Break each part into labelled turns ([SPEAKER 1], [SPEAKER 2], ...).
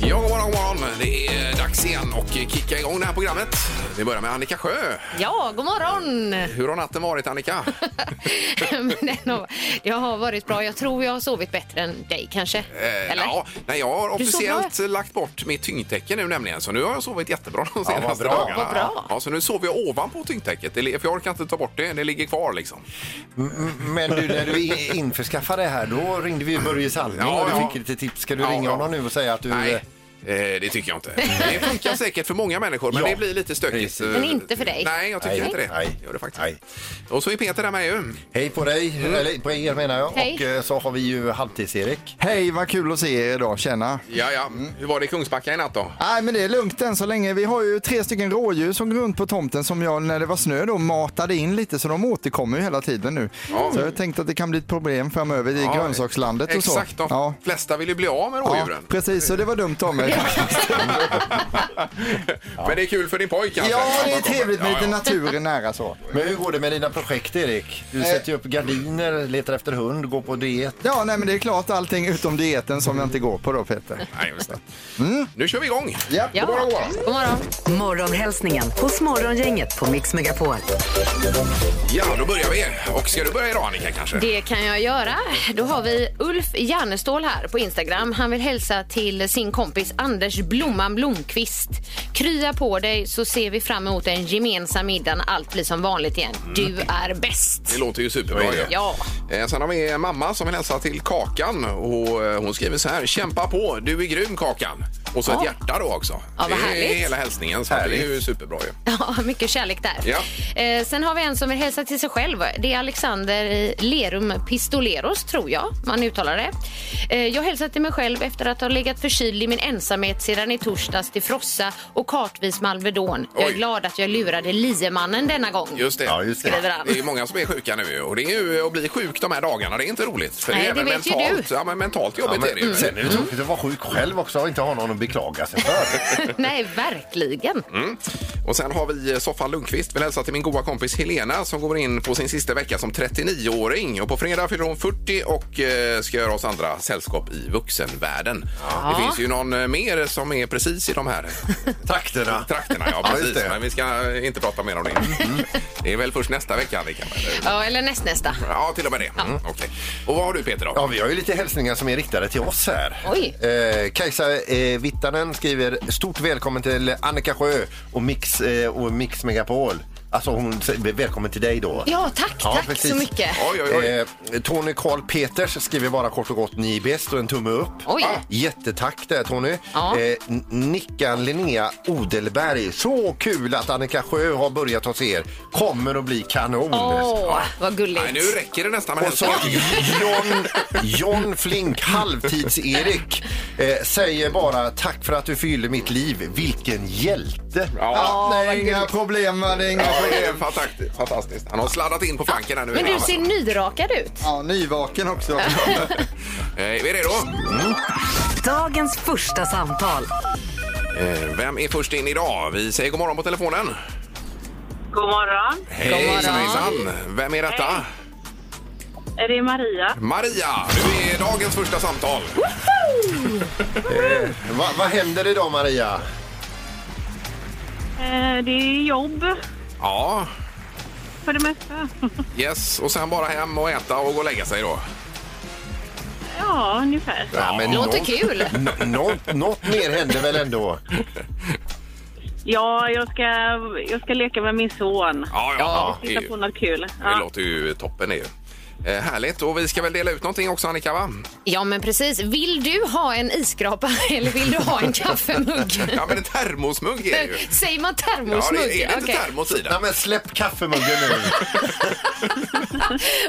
[SPEAKER 1] Ja, god morgon, god morgon. Det är dags igen och kicka igång det här programmet. Vi börjar med Annika Sjö.
[SPEAKER 2] Ja, god morgon!
[SPEAKER 1] Hur har natten varit Annika?
[SPEAKER 2] Men den har- det har varit bra. Jag tror jag har sovit bättre än dig kanske.
[SPEAKER 1] Eh,
[SPEAKER 2] Eller?
[SPEAKER 1] Ja, nej, jag har
[SPEAKER 2] Du sov
[SPEAKER 1] officiellt lagt bort mitt tyngdtäcke nu nämligen så nu har jag sovit jättebra de senaste
[SPEAKER 3] vad bra.
[SPEAKER 1] dagarna.
[SPEAKER 2] Vad bra.
[SPEAKER 1] Ja, så nu sover jag ovanpå tyngdtäcket Det li- för jag orkar inte ta bort det, det ligger kvar liksom.
[SPEAKER 4] Men du, när du i- införskaffade det här, då ringde vi Börje Salming
[SPEAKER 1] Ja,
[SPEAKER 4] och du
[SPEAKER 1] ja.
[SPEAKER 4] fick lite tips. Ska du
[SPEAKER 1] Ja,
[SPEAKER 4] ringa
[SPEAKER 1] ja.
[SPEAKER 4] honom nu och säga att du...
[SPEAKER 1] Nej,
[SPEAKER 4] eh,
[SPEAKER 1] eh, det tycker jag inte. Det funkar säkert för många människor men
[SPEAKER 4] Ja,
[SPEAKER 1] det blir lite stökigt.
[SPEAKER 4] precis.
[SPEAKER 1] Eh,
[SPEAKER 2] Men inte för dig.
[SPEAKER 1] Nej, jag tycker
[SPEAKER 4] Nej.
[SPEAKER 1] inte det.
[SPEAKER 4] Nej.
[SPEAKER 1] Gör det faktiskt.
[SPEAKER 4] Nej. Mm.
[SPEAKER 1] Och så är Peter där med ju.
[SPEAKER 4] Hej på dig,
[SPEAKER 1] Mm.
[SPEAKER 4] eller på er menar jag.
[SPEAKER 2] Hej.
[SPEAKER 4] Och eh, så har vi ju Halvtids-Erik.
[SPEAKER 5] Hej, vad kul att se er idag, tjena.
[SPEAKER 1] Ja, ja. Hur var det i Kungsbacka i natt då?
[SPEAKER 5] Nej, men det är lugnt än så länge. Vi har ju tre stycken rådjur som går runt på tomten som jag när det var snö då matade in lite så de återkommer ju hela tiden nu.
[SPEAKER 1] Ja.
[SPEAKER 5] Så jag tänkte att det kan bli ett problem framöver i
[SPEAKER 1] Ja,
[SPEAKER 5] grönsakslandet och så.
[SPEAKER 1] Exakt, de
[SPEAKER 5] Ja.
[SPEAKER 1] flesta vill ju bli av med
[SPEAKER 5] Ja,
[SPEAKER 1] rådjuren.
[SPEAKER 5] precis, så det var dumt av mig.
[SPEAKER 1] Men det är kul för din pojk kanske?
[SPEAKER 5] Ja, det är
[SPEAKER 1] Att de kommer.
[SPEAKER 5] trevligt med
[SPEAKER 1] Ja,
[SPEAKER 5] lite
[SPEAKER 1] ja.
[SPEAKER 5] natur nära så.
[SPEAKER 4] Men hur går det med dina projekt Erik?
[SPEAKER 1] Eh.
[SPEAKER 4] Du sätter ju upp gardiner, letar efter hund, går på diet.
[SPEAKER 5] Ja, nej, men det är klart allting utom dieten som jag inte går på då, Peter.
[SPEAKER 1] Nej, just det.
[SPEAKER 5] Mm.
[SPEAKER 1] Nu kör vi igång!
[SPEAKER 5] Ja,
[SPEAKER 2] Ja.
[SPEAKER 5] god morgon, god morgon.
[SPEAKER 2] God morgon.
[SPEAKER 6] Morgonhälsningen hos Morgongänget på Mix Megapol.
[SPEAKER 1] Ja, då börjar vi. Och ska du börja idag Annika kanske?
[SPEAKER 2] Det kan jag göra. Då har vi Ulf Jannestål här på Instagram. Han vill hälsa till sin kompis Anders Blomman Blomqvist. Krya på dig så ser vi fram emot en gemensam middag när allt blir som vanligt igen. Du
[SPEAKER 5] Mm.
[SPEAKER 2] är bäst!
[SPEAKER 1] Det låter ju superbra. ju.
[SPEAKER 2] Ja.
[SPEAKER 1] Eh, Sen har vi en mamma som vill hälsa till Kakan. Och eh, hon skriver så här. Kämpa på, du är grym Kakan. Och så ett hjärta då också.
[SPEAKER 2] Ja, vad
[SPEAKER 1] det är
[SPEAKER 2] härligt.
[SPEAKER 1] hela hälsningen. Så det är ju superbra ju.
[SPEAKER 2] Ja, mycket kärlek där.
[SPEAKER 1] Ja.
[SPEAKER 2] Eh, sen har vi en som vill hälsa till sig själv. Det är Alexander i Lerum Pistoleros, tror jag man uttalar det. Eh, jag hälsar till mig själv efter att ha legat förkyld i min ensamhet sedan i torsdags till Frossa och kartvis med Alvedon. Jag är
[SPEAKER 1] Oj.
[SPEAKER 2] glad att jag lurade liemannen denna gång.
[SPEAKER 1] Just det.
[SPEAKER 4] Ja, just det.
[SPEAKER 2] Skriver han.
[SPEAKER 1] Det är ju många som är sjuka nu ju. och det är ju att bli sjuk de här dagarna, det är inte roligt. För
[SPEAKER 2] Nej,
[SPEAKER 1] det är
[SPEAKER 2] det
[SPEAKER 1] även
[SPEAKER 2] vet ju
[SPEAKER 1] mentalt,
[SPEAKER 2] du.
[SPEAKER 1] ja, men mentalt jobbigt är det ju.
[SPEAKER 4] Sen är det tråkigt att vara sjuk själv också och inte ha någon att beklaga sig för.
[SPEAKER 2] Nej, verkligen.
[SPEAKER 1] Mm. Och sen har vi Soffan Lundqvist. Vill hälsa till min goda kompis Helena som går in på sin sista vecka som 39-åring. Och på fredag fyller hon 40 och eh, ska göra oss andra sällskap i vuxenvärlden. Det finns ju någon eh, mer som är precis i de här eh,
[SPEAKER 4] Takterna.
[SPEAKER 1] trakterna. Ja,
[SPEAKER 4] Ja,
[SPEAKER 1] precis.
[SPEAKER 4] just det. Mm.
[SPEAKER 1] Men vi ska eh, inte prata mer om det. Det är väl först nästa vecka, Annika? eller?
[SPEAKER 2] Ja, eller nästnästa.
[SPEAKER 1] Ja, till och med det. Mm, okej. Och vad har du, Peter? Då?
[SPEAKER 4] Ja, vi har ju lite hälsningar som är riktade till oss här.
[SPEAKER 2] Oj.
[SPEAKER 4] Eh, Kajsa eh, Vittanen skriver stort välkommen till Annika Sjö och Mix, eh, och Mix Megapol. Alltså hon säger välkommen till dig då.
[SPEAKER 2] Ja, tack,
[SPEAKER 4] Ja,
[SPEAKER 2] tack
[SPEAKER 4] precis.
[SPEAKER 2] så mycket.
[SPEAKER 1] Oj, oj, oj.
[SPEAKER 4] Eh, Tony Karl Peters skriver bara kort och gott ni är bäst och en tumme upp.
[SPEAKER 2] Oj.
[SPEAKER 4] Jättetack där Tony.
[SPEAKER 2] Ja.
[SPEAKER 4] Eh, N- Nickan Linnea Odelberg. Så kul att Annika Sjö har börjat hos er. Kommer att bli kanon.
[SPEAKER 2] Åh, vad gulligt.
[SPEAKER 1] Nej, nu räcker det nästan med
[SPEAKER 4] Och så
[SPEAKER 1] hälsningar.
[SPEAKER 4] John, John Flink, halvtids-Erik, eh, säger bara tack för att du fyller mitt liv. Vilken hjälte!
[SPEAKER 1] Ja.
[SPEAKER 5] Nej, inga problem, va, det är inga
[SPEAKER 1] Ja,
[SPEAKER 5] problem.
[SPEAKER 1] det är fantastiskt. fantastiskt. Han har sladdat in på flanken här nu.
[SPEAKER 2] Men du ser nyrakad ut.
[SPEAKER 5] Ja, nyvaken också.
[SPEAKER 1] Eh, Är vi redo?
[SPEAKER 6] Dagens första samtal.
[SPEAKER 1] Eh, Vem är först in idag? Vi säger god morgon på telefonen.
[SPEAKER 7] God morgon.
[SPEAKER 1] Hej, hejsan. Vem är detta?
[SPEAKER 7] Är det Maria?
[SPEAKER 1] Maria, du är dagens första samtal.
[SPEAKER 4] Va, vad händer idag, Maria?
[SPEAKER 7] Eh, det är jobb
[SPEAKER 1] Ja,
[SPEAKER 7] för det mesta.
[SPEAKER 1] yes. Och sen bara hem och äta och gå och lägga sig då.
[SPEAKER 7] Ja, ungefär.
[SPEAKER 4] Ja, men
[SPEAKER 2] Låter
[SPEAKER 4] något-
[SPEAKER 2] kul.
[SPEAKER 4] nå- Något, något mer händer väl ändå?
[SPEAKER 7] Ja, jag ska, jag ska leka med min son.
[SPEAKER 1] Ja, ja. Det, är
[SPEAKER 7] Hitta
[SPEAKER 1] ju,
[SPEAKER 7] på något kul.
[SPEAKER 1] det
[SPEAKER 7] Ja.
[SPEAKER 1] låter ju toppen det är ju. Eh, Härligt. Och vi ska väl dela ut någonting också Annika, va?
[SPEAKER 2] Ja, men precis. Vill du ha en isskrapa eller vill du ha en kaffemugg?
[SPEAKER 1] Ja, men en termosmugg är det ju.
[SPEAKER 2] Säger man
[SPEAKER 1] Ja,
[SPEAKER 2] termosmugg?
[SPEAKER 1] det är det inte
[SPEAKER 2] Okej.
[SPEAKER 1] termos i den?
[SPEAKER 4] Nej, men släpp kaffemuggen nu.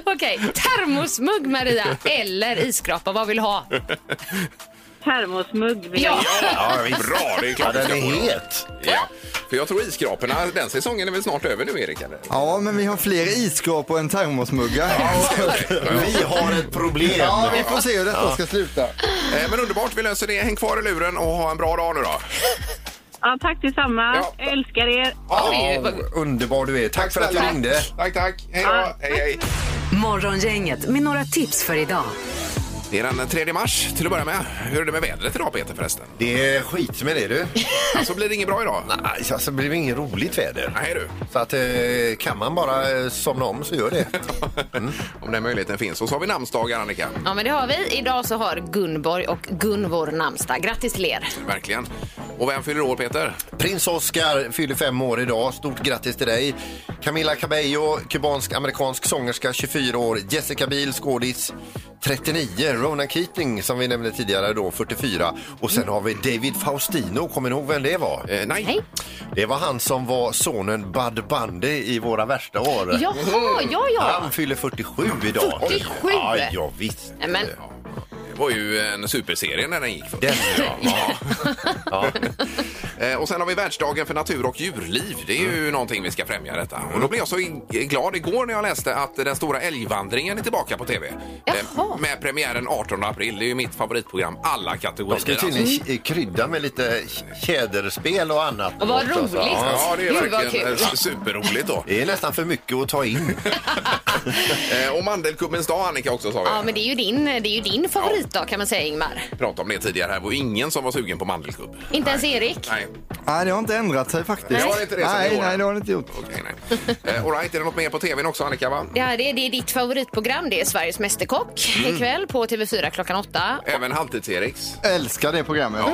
[SPEAKER 2] Okej, termosmugg Maria eller isskrapa, vad vill du ha?
[SPEAKER 7] Termosmugg vill jag
[SPEAKER 2] Ja.
[SPEAKER 7] ha.
[SPEAKER 1] Ja, bra. Det är
[SPEAKER 4] Ja,
[SPEAKER 1] klart
[SPEAKER 4] den
[SPEAKER 1] vi
[SPEAKER 4] är
[SPEAKER 1] ska få det.
[SPEAKER 4] het.
[SPEAKER 1] Ja, för jag tror isskraporna, den säsongen är väl snart över nu, Erik? Eller?
[SPEAKER 5] Ja, men vi har fler isskrapor än termosmuggar.
[SPEAKER 4] Vi har ett problem.
[SPEAKER 5] Ja, vi får se hur detta ska sluta.
[SPEAKER 1] Eh, Men underbart, vi löser det. Häng kvar i luren och ha en bra dag nu då.
[SPEAKER 7] Ja, tack detsamma.
[SPEAKER 1] Ja.
[SPEAKER 7] Jag älskar er.
[SPEAKER 4] Ja, underbar du är. Tack för att du ringde.
[SPEAKER 1] Tack, tack. Hej då. Hej, hej.
[SPEAKER 6] Morgongänget med några tips för idag.
[SPEAKER 1] Det är den 3 mars till att börja med. Hur är det med vädret idag Peter förresten?
[SPEAKER 4] Det är skit med det du.
[SPEAKER 1] Alltså blir det inget bra idag?
[SPEAKER 4] Nej, alltså, det blev inget roligt väder.
[SPEAKER 1] Nej du.
[SPEAKER 4] Så att, eh, kan man bara eh, somna om så gör det. Mm.
[SPEAKER 1] Om den möjligheten finns. Och så har vi namnsdagar Annika.
[SPEAKER 2] Ja, men det har vi. Idag så har Gunborg och Gunvor namnsdag. Grattis till er!
[SPEAKER 1] Verkligen. Och vem fyller år Peter?
[SPEAKER 4] Prins Oscar fyller fem år idag. Stort grattis till dig. Camila Cabello, kubansk-amerikansk sångerska, 24 år. Jessica Biel, skådis, 39. Ronan Keating, som vi nämnde tidigare, då, 44. Och sen
[SPEAKER 2] Mm.
[SPEAKER 4] har vi David Faustino. Kommer ni ihåg vem det var?
[SPEAKER 1] Eh, nej.
[SPEAKER 2] Hej!
[SPEAKER 4] Det var han som var sonen Bud Bundy i våra värsta år.
[SPEAKER 2] Jaha, ja, ja!
[SPEAKER 4] Han fyller 47 idag.
[SPEAKER 2] 47?
[SPEAKER 4] Ja, ja visst.
[SPEAKER 2] Nej, Men,
[SPEAKER 1] Det var ju en superserie när den gick först.
[SPEAKER 4] Den,
[SPEAKER 1] Ja. Eh, Och sen har vi världsdagen för natur och djurliv. Det är ju någonting vi ska främja detta. Och då blev jag så i- glad igår när jag läste att den stora älgvandringen är tillbaka på tv.
[SPEAKER 2] Jaha.
[SPEAKER 1] Eh, Med premiären 18 april. Det är ju mitt favoritprogram alla kategorier.
[SPEAKER 4] De ska ju
[SPEAKER 1] alltså.
[SPEAKER 4] tydligen k- krydda med lite tjäderspel och annat.
[SPEAKER 2] Och vad
[SPEAKER 4] också, alltså.
[SPEAKER 2] roligt.
[SPEAKER 4] Ja.
[SPEAKER 1] Ja, det är
[SPEAKER 2] Gud, vad
[SPEAKER 1] verkligen
[SPEAKER 2] kul.
[SPEAKER 1] eh, su- superroligt då.
[SPEAKER 4] Det är nästan för mycket att ta in.
[SPEAKER 1] Eh, Och mandelkubbens dag Annika också sa vi.
[SPEAKER 2] ja, men det är ju din, det är ju din favoritdag kan man säga, Ingmar.
[SPEAKER 1] Vi pratade om det tidigare här. Det var ju ingen som var sugen på mandelkubb.
[SPEAKER 2] Inte ens Erik.
[SPEAKER 1] Nej,
[SPEAKER 5] Nej, det har inte ändrat sig faktiskt.
[SPEAKER 1] Det har inte det, så det
[SPEAKER 5] nej,
[SPEAKER 1] går.
[SPEAKER 5] nej, det har det inte gjort.
[SPEAKER 1] okej nej. Eh, All right, är det något mer på tvn också Annika? Va?
[SPEAKER 2] Ja, det, är, det är ditt favoritprogram. Det är Sveriges Mästerkock
[SPEAKER 1] Mm.
[SPEAKER 2] ikväll på TV4 klockan åtta.
[SPEAKER 1] Även Halvtids-Eriks.
[SPEAKER 5] Älskar det programmet.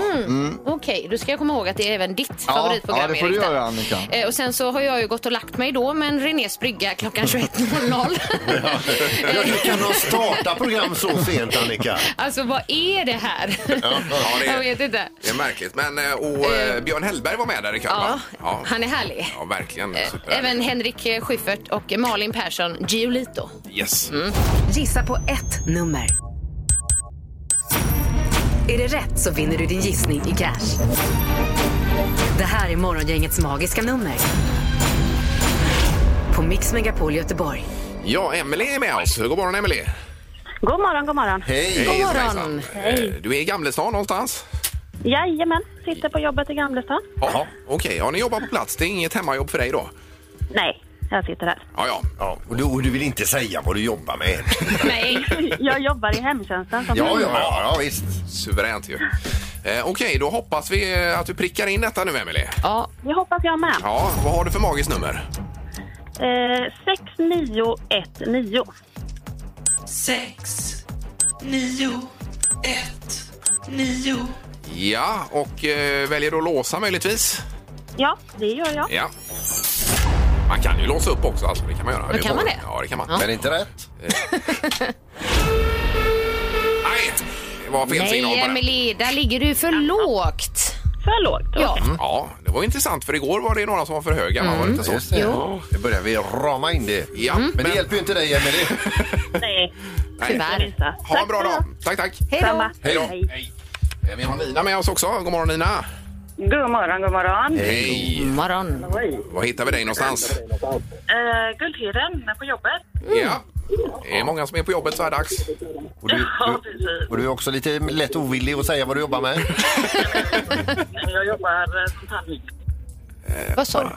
[SPEAKER 2] Okej, då ska jag komma ihåg att det är även ditt
[SPEAKER 5] Ja,
[SPEAKER 2] favoritprogram,
[SPEAKER 5] ja, det får du
[SPEAKER 2] Erik, där.
[SPEAKER 5] göra, Annika.
[SPEAKER 2] Eh, Och sen så har jag ju gått och lagt mig då, men Renés brygga klockan 21.00.
[SPEAKER 4] Ja, hur kan de starta program så sent, Annika?
[SPEAKER 2] Alltså vad är det här?
[SPEAKER 1] ja, det är-
[SPEAKER 2] Jag vet inte.
[SPEAKER 1] Det är märkligt. Men, eh, och eh, Björn Hellberg var med där ikväll
[SPEAKER 2] Ja,
[SPEAKER 1] va? ja.
[SPEAKER 2] han är härlig.
[SPEAKER 1] Ja, verkligen.
[SPEAKER 2] Eh,
[SPEAKER 1] Super.
[SPEAKER 2] Även Henrik eh, Schyffert och Malin Persson Giolito.
[SPEAKER 1] Yes.
[SPEAKER 2] Mm.
[SPEAKER 6] Gissa på ett nummer. Är det rätt så vinner du din gissning i cash. Det här är Morgongängets magiska nummer. På Mix Megapol Göteborg.
[SPEAKER 1] Ja, Emily är med oss. God morgon, Emily.
[SPEAKER 8] God morgon, god morgon.
[SPEAKER 4] Hej!
[SPEAKER 1] God
[SPEAKER 2] morgon.
[SPEAKER 1] Eh, Du är i Gamlestan någonstans?
[SPEAKER 8] Jajamän, sitter på jobbet i Gamlestad.
[SPEAKER 1] Ja. Okej, ja, ni jobbar på plats. Det är inget hemmajobb för dig då?
[SPEAKER 8] Nej, jag sitter här.
[SPEAKER 1] Ja, ja.
[SPEAKER 4] Ja, och, du, och du vill inte säga vad du jobbar med?
[SPEAKER 2] Nej.
[SPEAKER 8] Jag jobbar i hemtjänsten som
[SPEAKER 4] Ja, ja, ja, ja visst.
[SPEAKER 1] Suveränt ju. Eh, Okej, då hoppas vi eh, att du prickar in detta nu, Emily.
[SPEAKER 2] Ja,
[SPEAKER 8] Det hoppas jag med.
[SPEAKER 1] Ja, vad har du för magiskt nummer?
[SPEAKER 8] Eh, 6919.
[SPEAKER 1] Ja, och eh, väljer du att låsa möjligtvis?
[SPEAKER 8] Ja, det gör jag.
[SPEAKER 1] Ja. Man kan ju låsa upp också, alltså. Det kan man göra.
[SPEAKER 2] kan man det?
[SPEAKER 1] Ja, det kan man.
[SPEAKER 4] Men inte rätt.
[SPEAKER 1] Nej, det var fel signal
[SPEAKER 2] nej
[SPEAKER 1] på den.
[SPEAKER 2] Emily, där ligger du för lågt.
[SPEAKER 8] För lågt.
[SPEAKER 2] Ja.
[SPEAKER 8] Okej.
[SPEAKER 1] Ja, det var intressant för igår var det några som var för höga, va? var
[SPEAKER 2] Mm.
[SPEAKER 1] det inte så?
[SPEAKER 4] Just det.
[SPEAKER 2] Jo.
[SPEAKER 4] Nu börjar vi rama in det. Mm.
[SPEAKER 1] Ja,
[SPEAKER 4] Men det hjälper ju inte dig, Emelie.
[SPEAKER 8] Nej,
[SPEAKER 1] nej.
[SPEAKER 2] Tyvärr.
[SPEAKER 8] Lisa.
[SPEAKER 1] Ha en bra dag. Tack, tack.
[SPEAKER 2] Hej då.
[SPEAKER 8] Samma.
[SPEAKER 1] Hej då.
[SPEAKER 8] Hej.
[SPEAKER 1] Hej. Eh, Vi har Nina med oss också. God morgon Nina.
[SPEAKER 8] God morgon, god morgon.
[SPEAKER 1] Hej.
[SPEAKER 2] God morgon.
[SPEAKER 1] Var hittar vi dig någonstans?
[SPEAKER 8] Eh, Guldhyren på jobbet.
[SPEAKER 1] Ja. Det är många som är på jobbet så här dags.
[SPEAKER 4] Och du,
[SPEAKER 8] Ja,
[SPEAKER 4] du,
[SPEAKER 8] precis.
[SPEAKER 4] och du är också lite lätt ovillig att säga vad du jobbar med.
[SPEAKER 8] Jag jobbar eh, som tandhyg-
[SPEAKER 2] Vad sa du?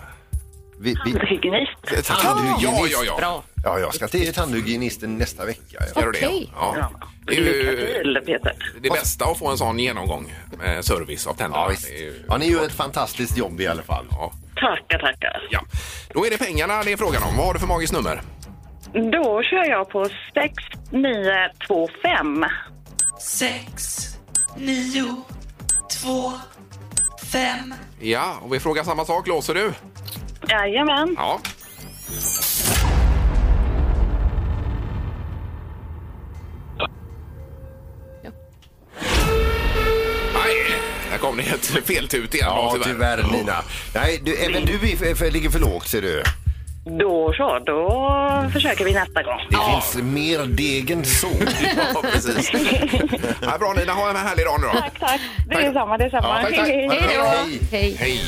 [SPEAKER 4] Vi, vi,
[SPEAKER 8] tandhygienist.
[SPEAKER 4] Tandhygienist.
[SPEAKER 1] Ja, ja, ja.
[SPEAKER 2] Bra.
[SPEAKER 4] ja, jag ska till tandhygienisten nästa vecka. Ja.
[SPEAKER 1] Gör du det?
[SPEAKER 2] Okej.
[SPEAKER 1] Ja. Det är
[SPEAKER 8] Lycka
[SPEAKER 1] ju
[SPEAKER 8] till, Peter.
[SPEAKER 1] det bästa att få en sån genomgång. eh, Service av tänderna.
[SPEAKER 4] Ja, visst.
[SPEAKER 1] Det är ju-
[SPEAKER 4] Ja, ni gör ett fantastiskt jobb i alla fall.
[SPEAKER 1] Ja.
[SPEAKER 8] Tackar, tackar.
[SPEAKER 1] ja. Då är det pengarna det är frågan om. Vad har du för magiskt nummer?
[SPEAKER 8] Då kör jag på 6925.
[SPEAKER 1] Ja, och vi frågar samma sak. Låser du?
[SPEAKER 8] Jajamän.
[SPEAKER 1] Ja. Nej, där kom det ett feltut igen.
[SPEAKER 4] Ja,
[SPEAKER 1] då,
[SPEAKER 4] tyvärr, Nina. Nej, du, även du är för, för, ligger för lågt, ser du. Det
[SPEAKER 8] Då så, då försöker vi nästa gång.
[SPEAKER 4] finns mer deg än så.
[SPEAKER 1] Ja, precis. Ja, bra Nina, ha en härlig dag nu då.
[SPEAKER 8] Tack, tack. Det är samma, det är samma.
[SPEAKER 1] Ja, tack, tack.
[SPEAKER 8] Hej, hej.
[SPEAKER 2] Hej då.
[SPEAKER 4] Hej.
[SPEAKER 2] Hej.
[SPEAKER 1] Hej!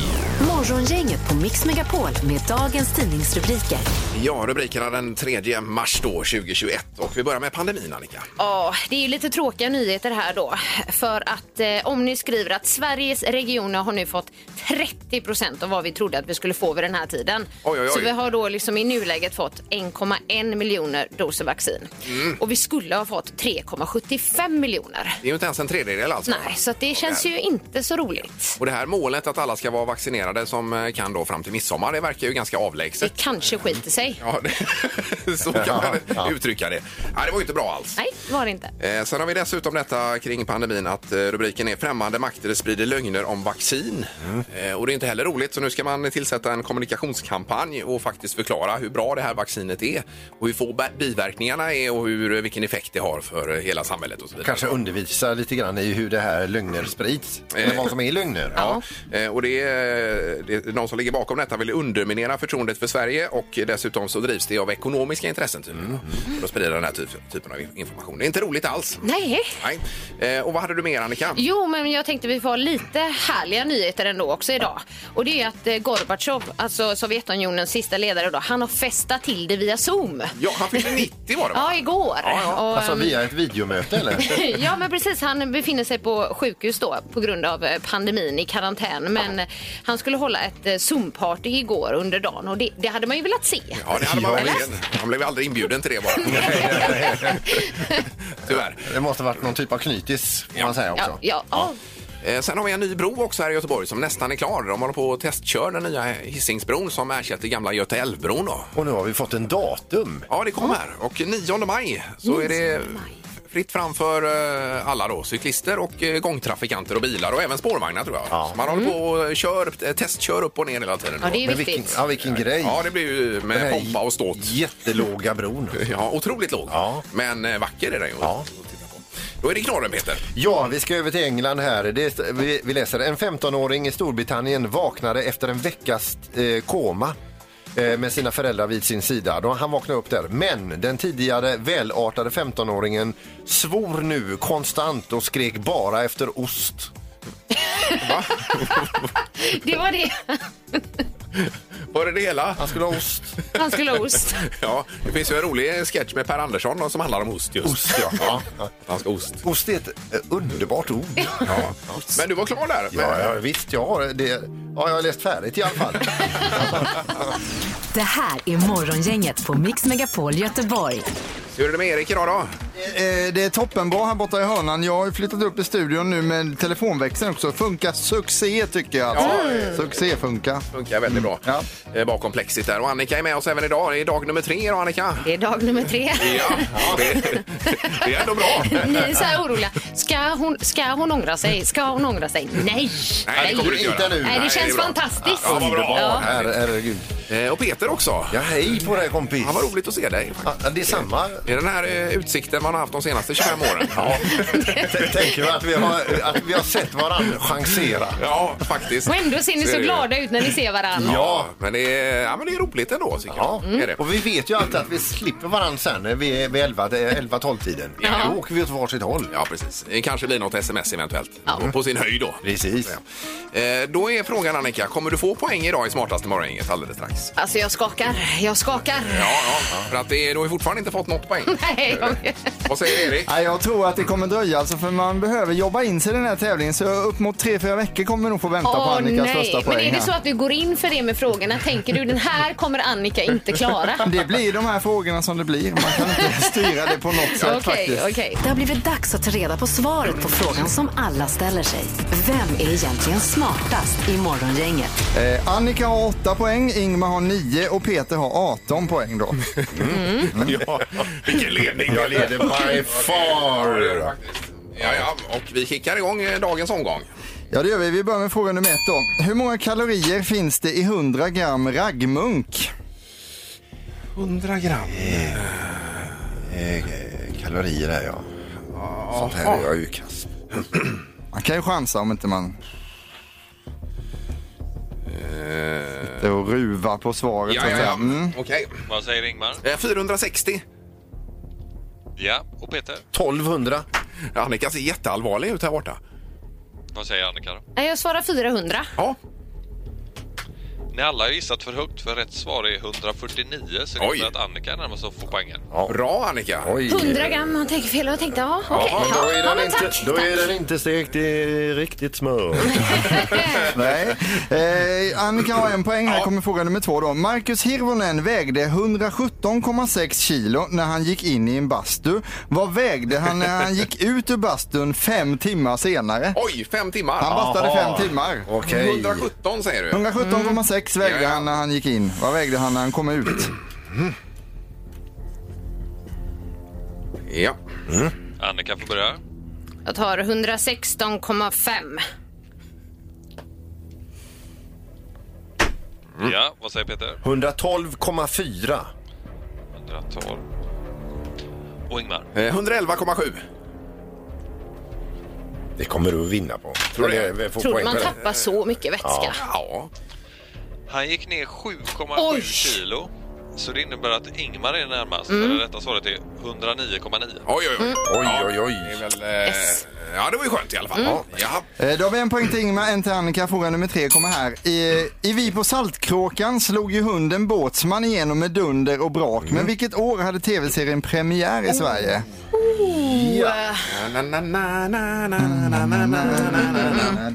[SPEAKER 6] Morgongänget på Mix Megapol med dagens tidningsrubriker.
[SPEAKER 1] Ja, rubrikerna den 3 mars då, 2021. Och vi börjar med pandemin, Annika.
[SPEAKER 2] Ja, det är ju lite tråkiga nyheter här då. För att eh, om ni skriver att Sveriges regioner har nu fått 30 procent av vad vi trodde att vi skulle få vid den här tiden.
[SPEAKER 1] Oj, oj, oj.
[SPEAKER 2] Så vi har då liksom i nuläget fått 1,1 miljoner doser vaccin.
[SPEAKER 1] Mm.
[SPEAKER 2] Och vi skulle ha fått 3,75 miljoner.
[SPEAKER 1] Det är ju inte ens en tredjedel alltså.
[SPEAKER 2] Nej, så att det känns ju inte så roligt.
[SPEAKER 1] Och det här målet att alla ska vara vaccinerade som eh, kan då fram till midsommar, det verkar ju ganska avlägset.
[SPEAKER 2] Det kanske skiter sig.
[SPEAKER 1] Ja, det, så kan man
[SPEAKER 4] Ja.
[SPEAKER 1] uttrycka det. Nej, det var ju inte bra alls.
[SPEAKER 2] Nej, var det inte.
[SPEAKER 1] Eh, sen har vi dessutom detta kring pandemin att eh, rubriken är Främmande makter sprider lögner om vaccin.
[SPEAKER 4] Mm.
[SPEAKER 1] Eh, och det är inte heller roligt så nu ska man tillsätta en kommunikationskampanj och faktiskt förklara hur bra det här vaccinet är och hur få ba- biverkningarna är och hur, vilken effekt det har för eh, hela samhället och så vidare.
[SPEAKER 4] Kanske undervisa lite grann i hur det här lögner sprids. Eller vad som är lögner.
[SPEAKER 1] Ja. Eh, Och det är, det är någon som ligger bakom detta vill underminera förtroendet för Sverige och dessutom så drivs det av ekonomiska intressen tydligen då, för att sprida den här typ- typen av information. Det är inte roligt alls.
[SPEAKER 2] Nej.
[SPEAKER 1] Nej. Eh, Och vad hade du mer Annika?
[SPEAKER 2] Jo, men jag tänkte vi får ha lite härliga nyheter ändå också idag. Och det är att eh, Gorbatjov, alltså Sovjetunionens sista ledare då, han har festat till det via Zoom.
[SPEAKER 1] Ja, han fyllde 90 var det va?
[SPEAKER 2] Ja, igår.
[SPEAKER 1] Ja, ja.
[SPEAKER 2] Och,
[SPEAKER 4] Alltså
[SPEAKER 2] ehm,
[SPEAKER 4] via ett videomöte eller?
[SPEAKER 2] ja, men precis. Han befinner sig på sjukhus då på grund av eh, pandemin i karantän. Men eh, han skulle hålla ett eh, Zoom-party igår under dagen och det, det hade man ju velat se.
[SPEAKER 1] Ja, det hade man
[SPEAKER 4] Ja,
[SPEAKER 1] verkligen. Han blev aldrig inbjuden till det bara. Tyvärr.
[SPEAKER 4] Det måste ha varit någon typ av knytis får man säga också.
[SPEAKER 2] Ja, ja, ja.
[SPEAKER 1] Eh, Sen har vi en ny bro också här i Göteborg som nästan är klar. De håller på att testkör den nya Hisingsbron som ersätter gamla Göta älvbron då.
[SPEAKER 4] Och nu har vi fått en datum.
[SPEAKER 1] Ja, det kommer. Och 9 maj så är det fritt fram för eh, alla då, cyklister och eh, gångtrafikanter och bilar och även spårvagnar tror jag.
[SPEAKER 4] Ja.
[SPEAKER 1] Så Man håller på och kör, upp- eh, testkör upp och ner hela tiden.
[SPEAKER 2] ja, det är
[SPEAKER 4] Men vilken,
[SPEAKER 2] viktigt.
[SPEAKER 4] ja, vilken grej.
[SPEAKER 1] Ja, det blir ju
[SPEAKER 4] Den
[SPEAKER 1] med
[SPEAKER 4] här
[SPEAKER 1] pompa och ståt.
[SPEAKER 4] Jättelåga bron.
[SPEAKER 1] Ja, otroligt låg.
[SPEAKER 4] Ja.
[SPEAKER 1] Men eh, vacker är den ju.
[SPEAKER 4] Ja.
[SPEAKER 1] att titta på. Då är det knorren, Peter.
[SPEAKER 4] Ja, vi ska över till England här. Det, är- vi, vi läser en 15-åring i Storbritannien vaknade efter en veckas eh, koma eh, med sina föräldrar vid sin sida. Då Han vaknade upp där. Men den tidigare välartade 15-åringen svor nu konstant och skrek bara efter ost.
[SPEAKER 2] Det var det.
[SPEAKER 1] Var det det hela?
[SPEAKER 4] Han skulle ha ost.
[SPEAKER 2] Han skulle ha ost.
[SPEAKER 1] Ja, det finns ju en rolig sketch med Per Andersson som handlar om ost just.
[SPEAKER 4] Ost, ja.
[SPEAKER 1] Ja, Han ska ha ost.
[SPEAKER 4] Ost är ett eh, underbart ord.
[SPEAKER 1] Ja. Men du var klar där.
[SPEAKER 4] Ja, ja, visst, jag har det. Ja, jag har läst färdigt i alla fall.
[SPEAKER 6] Det här är Morgongänget på Mix Megapol Göteborg.
[SPEAKER 1] Hur är det med Erik idag då?
[SPEAKER 5] Eh, Det är toppenbra här borta i hörnan. Jag har ju flyttat upp i studion nu med telefonväxeln också. Funkar succé tycker jag.
[SPEAKER 1] Ja,
[SPEAKER 5] Succé funkar.
[SPEAKER 1] funkar väldigt bra
[SPEAKER 5] Ja.
[SPEAKER 1] Eh, bakom plexit där. Och Annika är med oss även idag. Det är dag nummer tre idag Annika.
[SPEAKER 2] Det är dag nummer tre.
[SPEAKER 1] Ja, det, det är ändå bra.
[SPEAKER 2] Ni är så här oroliga. Ska hon, ska hon ångra sig? Ska hon ångra sig? Nej!
[SPEAKER 1] Nej, det kommer du inte göra.
[SPEAKER 4] Inte nu.
[SPEAKER 2] Nej, det
[SPEAKER 1] är
[SPEAKER 2] känns
[SPEAKER 1] bra.
[SPEAKER 2] fantastiskt.
[SPEAKER 1] Ja, vad bra.
[SPEAKER 2] Ja.
[SPEAKER 4] Her- Herregud.
[SPEAKER 1] Eh, Och Peter också.
[SPEAKER 4] Ja, hej på dig kompis.
[SPEAKER 1] Ja, vad roligt att se dig.
[SPEAKER 4] Ja, det är samma.
[SPEAKER 1] Det är den här eh, utsikten man har haft de senaste 25 åren. Ja,
[SPEAKER 4] T- Tänker vi att vi har, att vi har sett varandra chansera.
[SPEAKER 1] ja faktiskt.
[SPEAKER 2] Och ändå ser ni så
[SPEAKER 1] är det.
[SPEAKER 2] glada ut när ni ser varandra.
[SPEAKER 1] Ja, men det är, ja, men det är roligt ändå tycker
[SPEAKER 4] Ja, Mm.
[SPEAKER 1] jag. Det Är det.
[SPEAKER 4] och vi vet ju alltid att vi slipper varandra sen när vi är vid 11-12-tiden.
[SPEAKER 2] Ja.
[SPEAKER 4] Då åker vi åt varsitt håll.
[SPEAKER 1] Ja, precis. Det kanske blir något sms eventuellt.
[SPEAKER 2] Ja.
[SPEAKER 1] På sin höjd då.
[SPEAKER 4] Precis.
[SPEAKER 1] Eh, Då är frågan Annika, kommer du få poäng idag i smartaste morgongänget alldeles strax?
[SPEAKER 2] Alltså jag skakar, jag skakar.
[SPEAKER 1] Ja, ja, för att det, du har ju fortfarande inte fått något poäng.
[SPEAKER 2] Nej, jag...
[SPEAKER 1] Vad säger Erik?
[SPEAKER 5] Nej, jag tror att det kommer dröja alltså, för man behöver jobba in sig i den här tävlingen. Så upp mot 3-4 veckor kommer vi nog få vänta på
[SPEAKER 2] Åh
[SPEAKER 5] Annikas
[SPEAKER 2] nej,
[SPEAKER 5] första
[SPEAKER 2] men
[SPEAKER 5] poäng.
[SPEAKER 2] är det
[SPEAKER 5] här.
[SPEAKER 2] så att du går in för det med frågorna? Tänker du den här kommer Annika inte klara?
[SPEAKER 5] Det blir de här frågorna som det blir. Man kan inte styra det på något sätt
[SPEAKER 2] Okej,
[SPEAKER 5] faktiskt.
[SPEAKER 2] okej.
[SPEAKER 6] Det har blivit dags att ta reda på svaret på frågan som alla ställer sig. Vem är egentligen smartast i Morgongänget?
[SPEAKER 5] Eh, Annika har 8 poäng, Ingmar har 9 och Peter har 18 poäng då.
[SPEAKER 1] Ja, vilken ledning!
[SPEAKER 4] Jag leder by far.
[SPEAKER 1] Ja, ja, och vi kickar igång eh, dagens omgång.
[SPEAKER 5] Ja det gör vi. Vi börjar med fråga nummer ett då. Hur många kalorier finns det i 100 gram raggmunk?
[SPEAKER 1] 100 gram.
[SPEAKER 4] Eh, eh, Kalorier där ja. Sånt här är jag ju kass
[SPEAKER 5] Man kan ju chansa om inte man...
[SPEAKER 4] Eh.
[SPEAKER 5] Sitter och ruvar på svaret.
[SPEAKER 1] Ja,
[SPEAKER 5] så att
[SPEAKER 1] ja,
[SPEAKER 5] säga.
[SPEAKER 1] ja.
[SPEAKER 5] Mm.
[SPEAKER 1] Okej.
[SPEAKER 9] Vad säger Ingmar?
[SPEAKER 1] Eh, 460.
[SPEAKER 9] Ja, och Peter?
[SPEAKER 4] 1200.
[SPEAKER 1] Annika ser jätteallvarlig ut här borta.
[SPEAKER 9] Vad säger Annika? då?
[SPEAKER 2] Nej, Jag svarar 400.
[SPEAKER 1] Ja.
[SPEAKER 9] Ni alla har gissat för högt för rätt svar är 149 så det
[SPEAKER 1] Oj.
[SPEAKER 9] innebär att Annika närmast får poängen.
[SPEAKER 1] Bra Annika!
[SPEAKER 4] Oj.
[SPEAKER 2] 100 gram, han tänker fel. Jag tänkte, ja, okej.
[SPEAKER 4] Men då
[SPEAKER 2] Ja,
[SPEAKER 4] är
[SPEAKER 2] ja,
[SPEAKER 4] den
[SPEAKER 2] men
[SPEAKER 4] inte,
[SPEAKER 2] tack.
[SPEAKER 4] då är den inte stekt i riktigt smör.
[SPEAKER 5] Nej. Eh, Annika har en poäng. Här kommer fråga nummer två. Då. Marcus Hirvonen vägde 117,6 kilo när han gick in i en bastu. Vad vägde han när han gick ut ur bastun fem timmar senare?
[SPEAKER 1] Oj, fem timmar!
[SPEAKER 5] Han bastade
[SPEAKER 4] Aha.
[SPEAKER 5] fem timmar.
[SPEAKER 4] Okej.
[SPEAKER 1] 117 säger du.
[SPEAKER 5] 117,6 vägde
[SPEAKER 1] Ja, ja.
[SPEAKER 5] han när han gick in. Vad vägde han när han kom ut?
[SPEAKER 1] Ja.
[SPEAKER 9] Annika får börja.
[SPEAKER 2] Jag tar 116,5.
[SPEAKER 9] Mm. Ja, vad säger Peter?
[SPEAKER 4] 112,4.
[SPEAKER 9] 112. Och Ingmar?
[SPEAKER 1] Eh, 111,7.
[SPEAKER 4] Det kommer du att vinna på. eh, Tror
[SPEAKER 1] du det?
[SPEAKER 2] Tror du man tappar så mycket vätska?
[SPEAKER 1] Ja.
[SPEAKER 9] Han gick ner
[SPEAKER 2] Oj.
[SPEAKER 9] 7,7 kilo. Så det innebär att Ingmar är närmast. Eller rätta svaret är 109,9.
[SPEAKER 1] Oj, oj, oj.
[SPEAKER 4] Oj, oj,
[SPEAKER 1] Mm. Det är
[SPEAKER 4] oj.
[SPEAKER 1] väl... Eh, Mm. Ja, det var ju skönt i alla fall. Ja.
[SPEAKER 5] Eh, Då har vi en poäng till Ingmar, en till Annika. Fråga nummer tre kommer här. I, i Vi på Saltkråkan slog ju hunden Båtsman igenom med dunder och brak. Men vilket år hade tv-serien premiär i Sverige?
[SPEAKER 1] Na, na, na, na, na, na, na, na, na, na, na.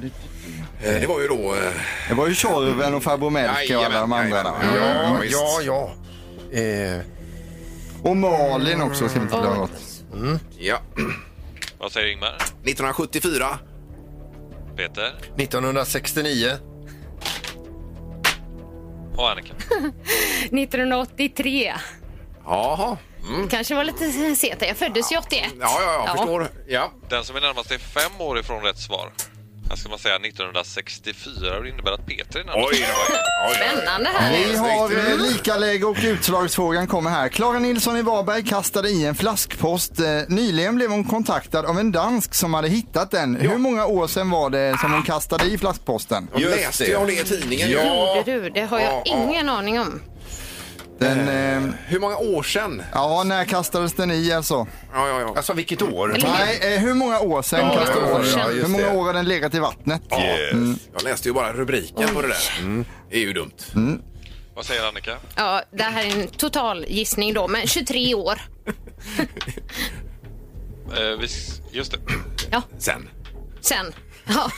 [SPEAKER 1] Eh, Det var ju då... eh,
[SPEAKER 5] Det var ju Tjorven och Farbror Melker och alla de
[SPEAKER 1] Jajamän,
[SPEAKER 5] andra.
[SPEAKER 1] jajamän.
[SPEAKER 5] där.
[SPEAKER 4] Ja,
[SPEAKER 1] visst.
[SPEAKER 4] ja, ja. Eh,
[SPEAKER 5] Och Malin också ska vi inte glömma bort.
[SPEAKER 1] Ja.
[SPEAKER 9] Vad säger Ingmar?
[SPEAKER 1] 1974.
[SPEAKER 9] Peter?
[SPEAKER 4] 1969.
[SPEAKER 9] Och Annika?
[SPEAKER 2] 1983.
[SPEAKER 1] Jaha. Mm.
[SPEAKER 2] Kanske var lite sent. Jag föddes ju 81.
[SPEAKER 1] Ja, ja, jag förstår. Ja.
[SPEAKER 9] Den som är närmast är fem år ifrån rätt svar. Här ska man säga 1964 och det innebär att Peter är närmast.
[SPEAKER 1] Oj, då. oj, oj.
[SPEAKER 2] Spännande här.
[SPEAKER 5] Vi har eh, lika läge och utslagsfrågan kommer här. Klara Nilsson i Varberg kastade i en flaskpost. Eh, Nyligen blev hon kontaktad av en dansk som hade hittat den. Hur många år sedan var det som hon kastade i flaskposten?
[SPEAKER 1] Just
[SPEAKER 4] Just
[SPEAKER 1] läste
[SPEAKER 4] det.
[SPEAKER 1] jag om det i tidningen.
[SPEAKER 2] Gjorde du? Det har
[SPEAKER 1] Ja,
[SPEAKER 2] jag
[SPEAKER 1] ja.
[SPEAKER 2] ingen aning om.
[SPEAKER 5] Den, eh,
[SPEAKER 1] Hur många år sedan?
[SPEAKER 5] ja, när kastades den i alltså?
[SPEAKER 1] Ja, ja, ja.
[SPEAKER 4] Alltså vilket år?
[SPEAKER 5] Nej, eh, hur många år sedan
[SPEAKER 2] Ja,
[SPEAKER 5] kastades
[SPEAKER 2] ja,
[SPEAKER 5] den?
[SPEAKER 2] ja,
[SPEAKER 4] just
[SPEAKER 5] hur många
[SPEAKER 4] det.
[SPEAKER 5] år har den legat i vattnet?
[SPEAKER 4] Yes.
[SPEAKER 1] Jag läste ju bara rubriken på det där. Mm. Det är ju dumt.
[SPEAKER 9] Vad säger Annika?
[SPEAKER 2] Ja, det här är en total gissning då, men 23 år.
[SPEAKER 9] Eh, vi, s- just det.
[SPEAKER 1] Sen.
[SPEAKER 2] Sen. Ja.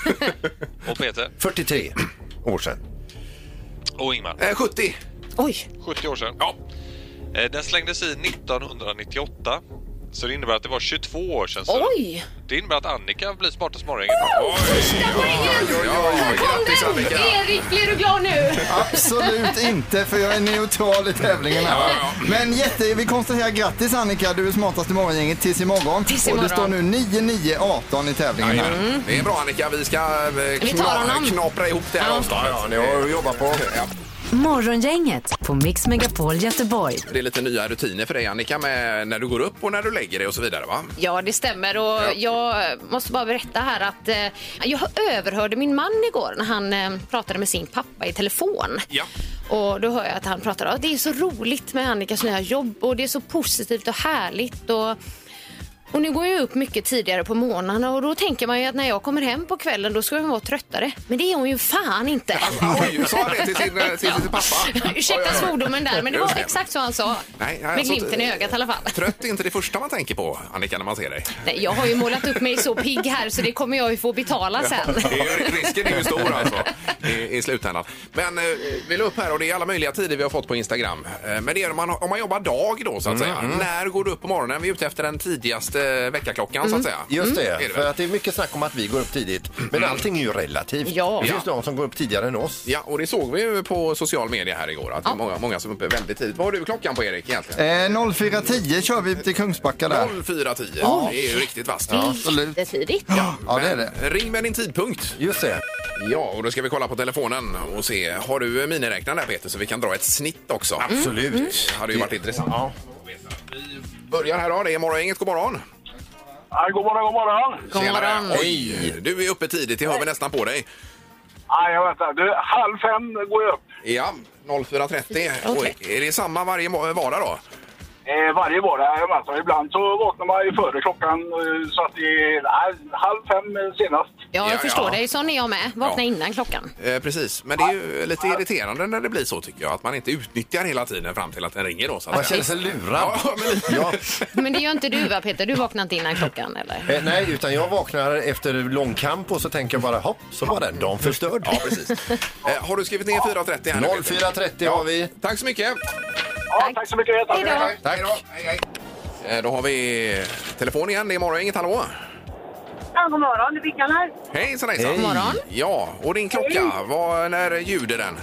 [SPEAKER 9] Och Peter?
[SPEAKER 4] 43 år sedan.
[SPEAKER 9] Och Ingmar?
[SPEAKER 1] Eh, 70.
[SPEAKER 2] Oj.
[SPEAKER 9] 70 år sedan.
[SPEAKER 1] Ja.
[SPEAKER 9] Eh, den slängdes i 1998. Så det innebär att det var 22 år sedan. Så
[SPEAKER 2] Oj!
[SPEAKER 9] Det innebär att Annika blir smartast morgon.
[SPEAKER 2] Första poängen!
[SPEAKER 1] Ja, grattis
[SPEAKER 2] Kom den!
[SPEAKER 1] Annika.
[SPEAKER 2] Erik, blir du glad nu?
[SPEAKER 5] Absolut inte, för jag är neutral i tävlingen här. Men jätte, vi konstaterar grattis Annika, du är smartast i morgongänget tills imorgon.
[SPEAKER 2] Tills
[SPEAKER 5] Och
[SPEAKER 2] imorgon.
[SPEAKER 5] det står nu 9-9-18 i tävlingen här.
[SPEAKER 1] Jajamän. Det är bra Annika, vi ska eh, kna-
[SPEAKER 2] honom.
[SPEAKER 1] knapra ihop det här avståndet.
[SPEAKER 4] Ja, ni har att jobba på.
[SPEAKER 1] Ja.
[SPEAKER 6] Morgongänget på Mix Megapol Göteborg.
[SPEAKER 1] Det är lite nya rutiner för dig Annika med när du går upp och när du lägger dig och så vidare va?
[SPEAKER 2] Ja, det stämmer. Och Jag måste bara berätta här att eh, jag överhörde min man igår när han eh, pratade med sin pappa i telefon.
[SPEAKER 1] Ja.
[SPEAKER 2] Och Då hör jag att han pratar att det är så roligt med Annikas nya jobb och det är så positivt och härligt. Och och nu går jag upp mycket tidigare på morgnarna och då tänker man ju att när jag kommer hem på kvällen då ska hon vara tröttare. Men det är hon ju fan inte.
[SPEAKER 1] Oj, sa han det till sin, eh, till sin pappa? Oj,
[SPEAKER 2] Ursäkta
[SPEAKER 1] oj, oj.
[SPEAKER 2] svordomen där, men det
[SPEAKER 1] Just
[SPEAKER 2] var exakt så han sa.
[SPEAKER 1] Nej, nej,
[SPEAKER 2] Med
[SPEAKER 1] alltså,
[SPEAKER 2] glimten i ögat i alla fall.
[SPEAKER 1] Trött är inte det första man tänker på Annika när man ser dig.
[SPEAKER 2] Nej, jag har ju målat upp mig så pigg här så det kommer jag ju få betala sen.
[SPEAKER 1] Det är ju, risken är ju stor alltså i, i slutändan. Men eh, vi la upp här och det är alla möjliga tider vi har fått på Instagram. Eh, men det är om man, om man jobbar dag då så
[SPEAKER 4] Mm,
[SPEAKER 1] att säga. När går du upp på morgonen? Vi är ute efter den tidigaste eh, väckarklockan så att säga.
[SPEAKER 4] Mm. Just det,
[SPEAKER 1] Är Mm. det
[SPEAKER 4] för
[SPEAKER 1] väl? Mm.
[SPEAKER 4] att det är mycket snack om att vi går upp tidigt. Men allting är ju relativt.
[SPEAKER 2] Ja.
[SPEAKER 4] Det finns
[SPEAKER 1] Ja.
[SPEAKER 4] de som går upp tidigare än oss.
[SPEAKER 1] Ja, och det såg vi ju på social media här igår att det är många, många som är uppe väldigt tidigt. Vad har du klockan på Erik egentligen?
[SPEAKER 5] Eh, 0410 kör vi till Kungsbacka där.
[SPEAKER 1] 04.10. Det är ju riktigt vasst.
[SPEAKER 5] absolut.
[SPEAKER 2] Jättetidigt.
[SPEAKER 5] Ja, det är det.
[SPEAKER 1] Men Ring med din tidpunkt.
[SPEAKER 4] Just det.
[SPEAKER 1] Ja, och då ska vi kolla på telefonen och se. Har du miniräknaren där Peter så vi kan dra ett snitt också?
[SPEAKER 5] Mm.
[SPEAKER 4] Absolut.
[SPEAKER 1] Det hade ju varit intressant. Vi börjar här då. Det är morgongänget. God morgon!
[SPEAKER 3] Ja, god morgon, god morgon.
[SPEAKER 2] God
[SPEAKER 1] Tjenare.
[SPEAKER 2] morgon.
[SPEAKER 1] Oj! Du är uppe tidigt. Jag hör vi nästan på dig.
[SPEAKER 3] Nej, jag väntar. Du, halv fem går jag upp.
[SPEAKER 1] Ja, 04.30.
[SPEAKER 2] Okej.
[SPEAKER 1] Oj, Är det samma varje mo- vardag då?
[SPEAKER 3] Eh, varje vardag, jajamensan. Ibland så vaknar man ju före klockan eh, så att det är nej, halv fem eh, senast.
[SPEAKER 2] Ja, jag
[SPEAKER 1] Ja,
[SPEAKER 2] förstår
[SPEAKER 1] ja.
[SPEAKER 2] dig. Sån är jag med. Vakna
[SPEAKER 1] Ja.
[SPEAKER 2] innan klockan.
[SPEAKER 1] Eh, precis, men det är ju lite irriterande när det blir så tycker jag. Att man inte utnyttjar hela tiden fram till att den ringer då. Så att
[SPEAKER 4] Man
[SPEAKER 1] säga.
[SPEAKER 4] känner sig lurad.
[SPEAKER 1] Ja, men...
[SPEAKER 4] Ja.
[SPEAKER 2] Men det gör inte du va Peter? Du vaknar inte innan klockan eller?
[SPEAKER 4] Eh, nej, utan jag vaknar efter lång kamp och så tänker jag bara hopp, så var den dagen förstörd.
[SPEAKER 1] ja, precis. Eh, har du skrivit ner 4.30 här nu? Peter?
[SPEAKER 4] 04.30 har vi.
[SPEAKER 1] Tack så mycket!
[SPEAKER 3] Ja, tack. så mycket. Tack.
[SPEAKER 2] Hej då.
[SPEAKER 4] Tack.
[SPEAKER 1] Eh, Då har vi telefon igen. Det är morgon, inget hallå.
[SPEAKER 8] Ja, god morgon, det är Vickan här.
[SPEAKER 1] Hejsan hejsan.
[SPEAKER 4] Hej.
[SPEAKER 2] Morgon.
[SPEAKER 1] Ja, och din klocka, vad, när ljuder den?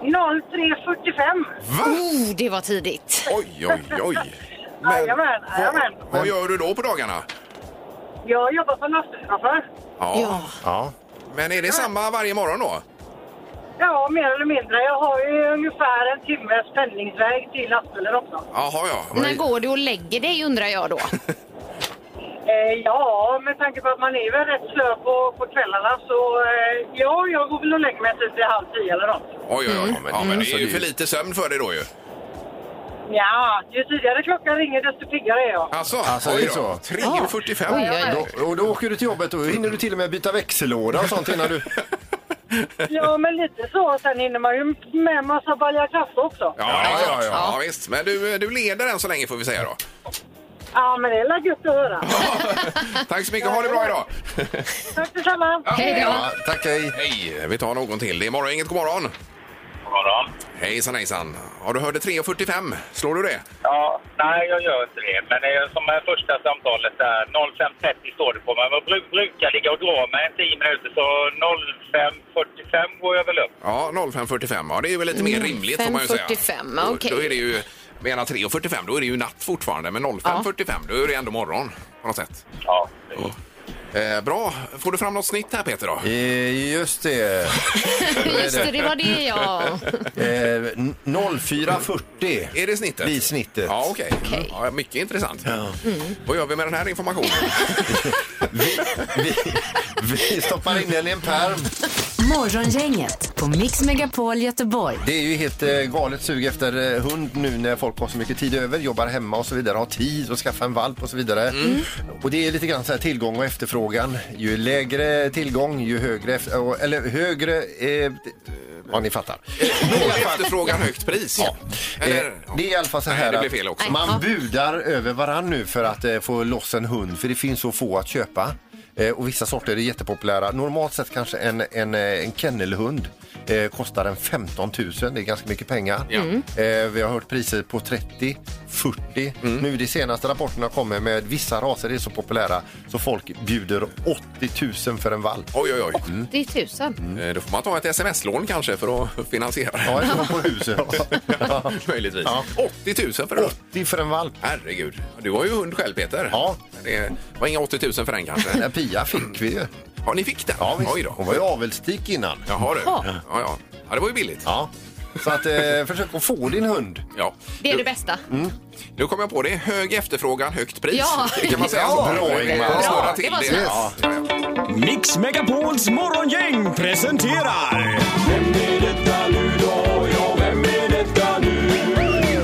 [SPEAKER 8] 03.45.
[SPEAKER 1] Va?
[SPEAKER 2] Oh, det var tidigt.
[SPEAKER 1] Oj, oj, oj.
[SPEAKER 8] Jajamän, jajamän.
[SPEAKER 1] vad, vad gör du då på dagarna?
[SPEAKER 8] Jag jobbar som lastbilschaufför.
[SPEAKER 2] Ja.
[SPEAKER 4] Ja.
[SPEAKER 1] Men är det samma varje morgon då?
[SPEAKER 8] Ja, mer eller mindre. Jag har ju ungefär en timmes pendlingsväg till lastbilen också.
[SPEAKER 1] Jaha, ja.
[SPEAKER 2] När går du och lägger dig undrar jag då?
[SPEAKER 8] Eh, ja, med tanke på att man är väl rätt slö på, på kvällarna så eh, ja, jag går väl och lägger mig typ vid halv tio eller något.
[SPEAKER 1] Oj, oj, oj. Ja, men, ja, men det är
[SPEAKER 4] Mm.
[SPEAKER 1] ju för lite sömn för dig då ju.
[SPEAKER 8] Ja, ju tidigare klockan ringer desto piggare är jag.
[SPEAKER 1] Alltså,
[SPEAKER 4] Alltså,
[SPEAKER 1] oj
[SPEAKER 4] det är
[SPEAKER 1] då.
[SPEAKER 4] så.
[SPEAKER 1] 3.45.
[SPEAKER 2] Oj, oj, oj.
[SPEAKER 4] Då, och då åker du till jobbet och hinner du till och med byta växellåda och sånt innan du...
[SPEAKER 8] Ja, men lite så. Sen hinner man ju med massa balja kaffe också.
[SPEAKER 1] Ja, det är
[SPEAKER 4] Ja,
[SPEAKER 1] klart.
[SPEAKER 4] ja, ja.
[SPEAKER 1] ja, visst. Men du, du leder än så länge får vi säga då.
[SPEAKER 8] Ja, men det är väl gött att höra.
[SPEAKER 1] Tack så mycket. Ha det bra idag.
[SPEAKER 8] Tack detsamma.
[SPEAKER 2] Hej då.
[SPEAKER 4] Ja, tack, hej.
[SPEAKER 1] Hej, vi tar någon till. Det är morgon, inget god morgon. God morgon. Hejsan, hejsan. Ja, du hörde 3.45. Slår du det?
[SPEAKER 3] Ja, nej, jag gör inte det. Men det är som det första samtalet där, 05.30 står det på mig. Man bru- brukar ligga och dra mig en 10 minuter, så 05.45 går jag väl upp.
[SPEAKER 1] Ja, 05.45. Ja, det är ju väl lite mer rimligt får man ju säga.
[SPEAKER 2] 05.45,
[SPEAKER 1] Då-
[SPEAKER 2] okej.
[SPEAKER 1] Då är det ju... Menar 3.45, då är det ju natt fortfarande. Men 05.45, då är det ändå morgon på något sätt.
[SPEAKER 3] Ja.
[SPEAKER 1] Eh, bra. Får du fram något snitt här, Peter? Då?
[SPEAKER 4] Eh, Just det.
[SPEAKER 2] Just det, det var det ja.
[SPEAKER 1] Mm.
[SPEAKER 4] Eh, n- 04.40.
[SPEAKER 1] Är det snittet?
[SPEAKER 4] Blir snittet.
[SPEAKER 1] Ja, okej. Ja, mycket intressant. Mm. Vad gör vi med den här informationen?
[SPEAKER 4] Vi, vi, vi stoppar in den i en pärm.
[SPEAKER 6] Morgongänget på Mix Megapol Göteborg.
[SPEAKER 4] Det är ju helt eh, galet sug efter eh, hund nu när folk har så mycket tid över, jobbar hemma och så vidare, har tid att skaffa en valp och så vidare. Och det är lite grann så här tillgång och efterfrågan. Ju lägre tillgång, ju högre, eft- och- eller högre, eh, ja ni fattar.
[SPEAKER 1] Låg efterfrågan, högt pris.
[SPEAKER 4] Ja. Eh,
[SPEAKER 1] Eller,
[SPEAKER 4] det är i alla fall så
[SPEAKER 1] Nej,
[SPEAKER 4] här
[SPEAKER 1] det blev fel också.
[SPEAKER 4] att man budar över varann nu för att eh, få loss en hund för det finns så få att köpa. Eh, och vissa sorter är jättepopulära. Normalt sett kanske en, en, eh, en kennelhund eh, kostar en 15 000. Det är ganska mycket pengar.
[SPEAKER 1] Ja. Mm.
[SPEAKER 4] Eh, vi har hört priser på 30 40.
[SPEAKER 1] Mm.
[SPEAKER 4] Nu de senaste rapporterna kommer med vissa raser är så populära så folk bjuder 80 000 för en valp.
[SPEAKER 1] Oj, oj, oj.
[SPEAKER 2] Det är tusen.
[SPEAKER 1] Eh, Då får man ta ett sms-lån kanske för att finansiera
[SPEAKER 4] Ja,
[SPEAKER 1] det.
[SPEAKER 4] jag kom på huset. Ja.
[SPEAKER 1] Möjligtvis.
[SPEAKER 4] Ja.
[SPEAKER 1] 80 000 för det.
[SPEAKER 4] 80 för en valp.
[SPEAKER 1] Herregud. Du har ju hund själv, Peter.
[SPEAKER 4] Ja.
[SPEAKER 1] Men Det var inga 80 000 för den kanske.
[SPEAKER 4] Ja, Pia fick vi ju.
[SPEAKER 1] Ja, ni fick den?
[SPEAKER 4] Ja, visst.
[SPEAKER 1] Oj då.
[SPEAKER 4] Hon var ju avelstik innan.
[SPEAKER 1] Jaha, du.
[SPEAKER 2] Ja.
[SPEAKER 1] Ja, ja. ja, det var ju billigt.
[SPEAKER 4] Ja. Så att, eh, försök att få din hund.
[SPEAKER 1] Ja.
[SPEAKER 2] Det är det bästa.
[SPEAKER 1] Nu kom jag på det. Hög efterfrågan, högt pris.
[SPEAKER 2] Ja.
[SPEAKER 1] Det kan man säga.
[SPEAKER 4] Ja,
[SPEAKER 1] så.
[SPEAKER 4] bra, Ingmar.
[SPEAKER 1] Det snurrar
[SPEAKER 2] Bra,
[SPEAKER 1] till
[SPEAKER 2] det var
[SPEAKER 1] det.
[SPEAKER 2] snyggt.
[SPEAKER 1] Ja.
[SPEAKER 10] Mix Megapols morgongäng presenterar... Vem är detta nu då? Ja, vem är detta nu?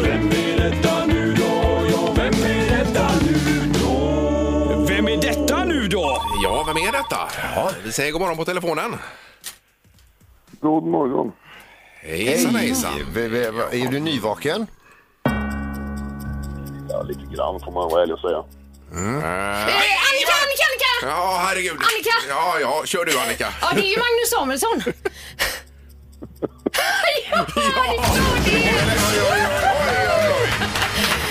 [SPEAKER 10] Vem är detta nu då? Ja, vem är detta nu då? Vem är detta nu då?
[SPEAKER 1] ja, vem är detta? Vi säger god morgon på telefonen.
[SPEAKER 3] God morgon.
[SPEAKER 1] Hejsan, hejsan.
[SPEAKER 4] V- v- v- Är du nyvaken?
[SPEAKER 3] Ja, lite grann får man vara ärlig och säga.
[SPEAKER 2] Eh, Annika, Annika, Annika!
[SPEAKER 1] Ja, herregud.
[SPEAKER 2] Annika!
[SPEAKER 1] Ja, ja, kör du Annika.
[SPEAKER 2] Ja, det är ju Magnus Samuelsson. ja, det är klart det är.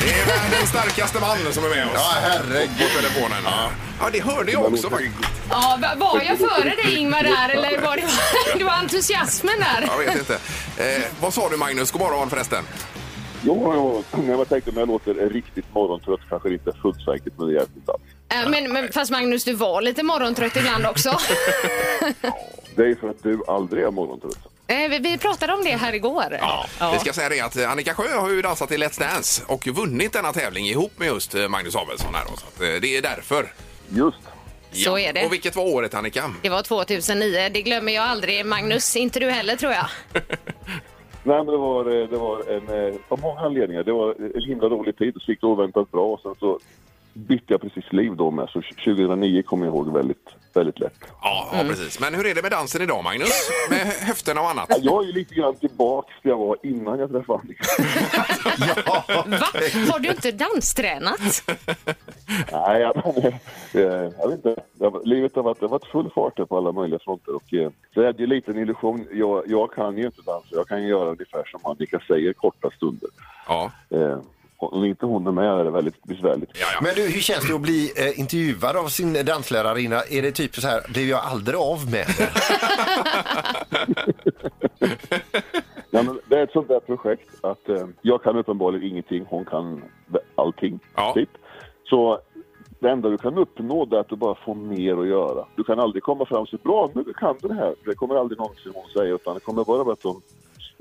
[SPEAKER 1] Det är världens starkaste man som är med oss.
[SPEAKER 4] Ja, herregud.
[SPEAKER 1] På telefonen. Ja. ja, det hörde jag också faktiskt.
[SPEAKER 2] Ja, va- var jag före dig Ingmar där eller var det, det var entusiasmen där?
[SPEAKER 1] Jag vet inte. Eh, vad sa du Magnus? God morgon förresten.
[SPEAKER 3] Ja, ja. Jag tänkte om jag låter riktigt morgontrött kanske det inte är fullt säkert, men det hjälper inte alls.
[SPEAKER 2] Äh, Men, men fast Magnus, du var lite morgontrött ibland också.
[SPEAKER 3] Det är för att du aldrig är morgontrött.
[SPEAKER 2] Eh, vi, vi pratade om det här igår.
[SPEAKER 1] Vi ska säga det att eh, Annika Sjö har ju dansat i Let's Dance och vunnit denna tävling ihop med just eh, Magnus Abelsson här då. Så att, eh, det är därför.
[SPEAKER 3] Just.
[SPEAKER 2] Så är det.
[SPEAKER 1] Och vilket var året Annika?
[SPEAKER 2] Det var 2009. Det glömmer jag aldrig. Magnus, inte du heller tror jag.
[SPEAKER 11] Nej, men det var, eh, det var en, eh, av många anledningar. Det var en himla rolig tid, så gick det oväntat bra. Och sen så bytte jag precis liv då med, så 2009 kommer jag ihåg väldigt, väldigt lätt.
[SPEAKER 1] Ja, ja, precis. Men hur är det med dansen idag, Magnus? Med hö- höfterna och annat?
[SPEAKER 11] Ja, Jag är ju lite grann tillbaks där jag var innan jag träffade Annika.
[SPEAKER 2] Va? Har du inte danstränat?
[SPEAKER 11] Nej, jag, eh, jag vet inte. Jag, var- livet har varit, det har varit full fart här på alla möjliga fronter. Och, eh, så är det ju lite en illusion. Jag, jag kan ju inte dansa. Jag kan ju göra ungefär som Annika säger, korta stunder.
[SPEAKER 1] Ja.
[SPEAKER 11] Eh, och om inte hon är med är det väldigt besvärligt.
[SPEAKER 4] Men du, hur känns det att bli eh, intervjuad av sin danslärarinna? Är det typ så här, blev jag aldrig av med det?
[SPEAKER 11] Nej, men det är ett sånt där projekt att eh, jag kan uppenbarligen ingenting, hon kan allting.
[SPEAKER 1] Ja.
[SPEAKER 11] Typ. Så det enda du kan uppnå det är att du bara får mer att göra. Du kan aldrig komma fram och säga bra, nu kan du det här. Det kommer aldrig någonsin hon säga utan det kommer bara vara att de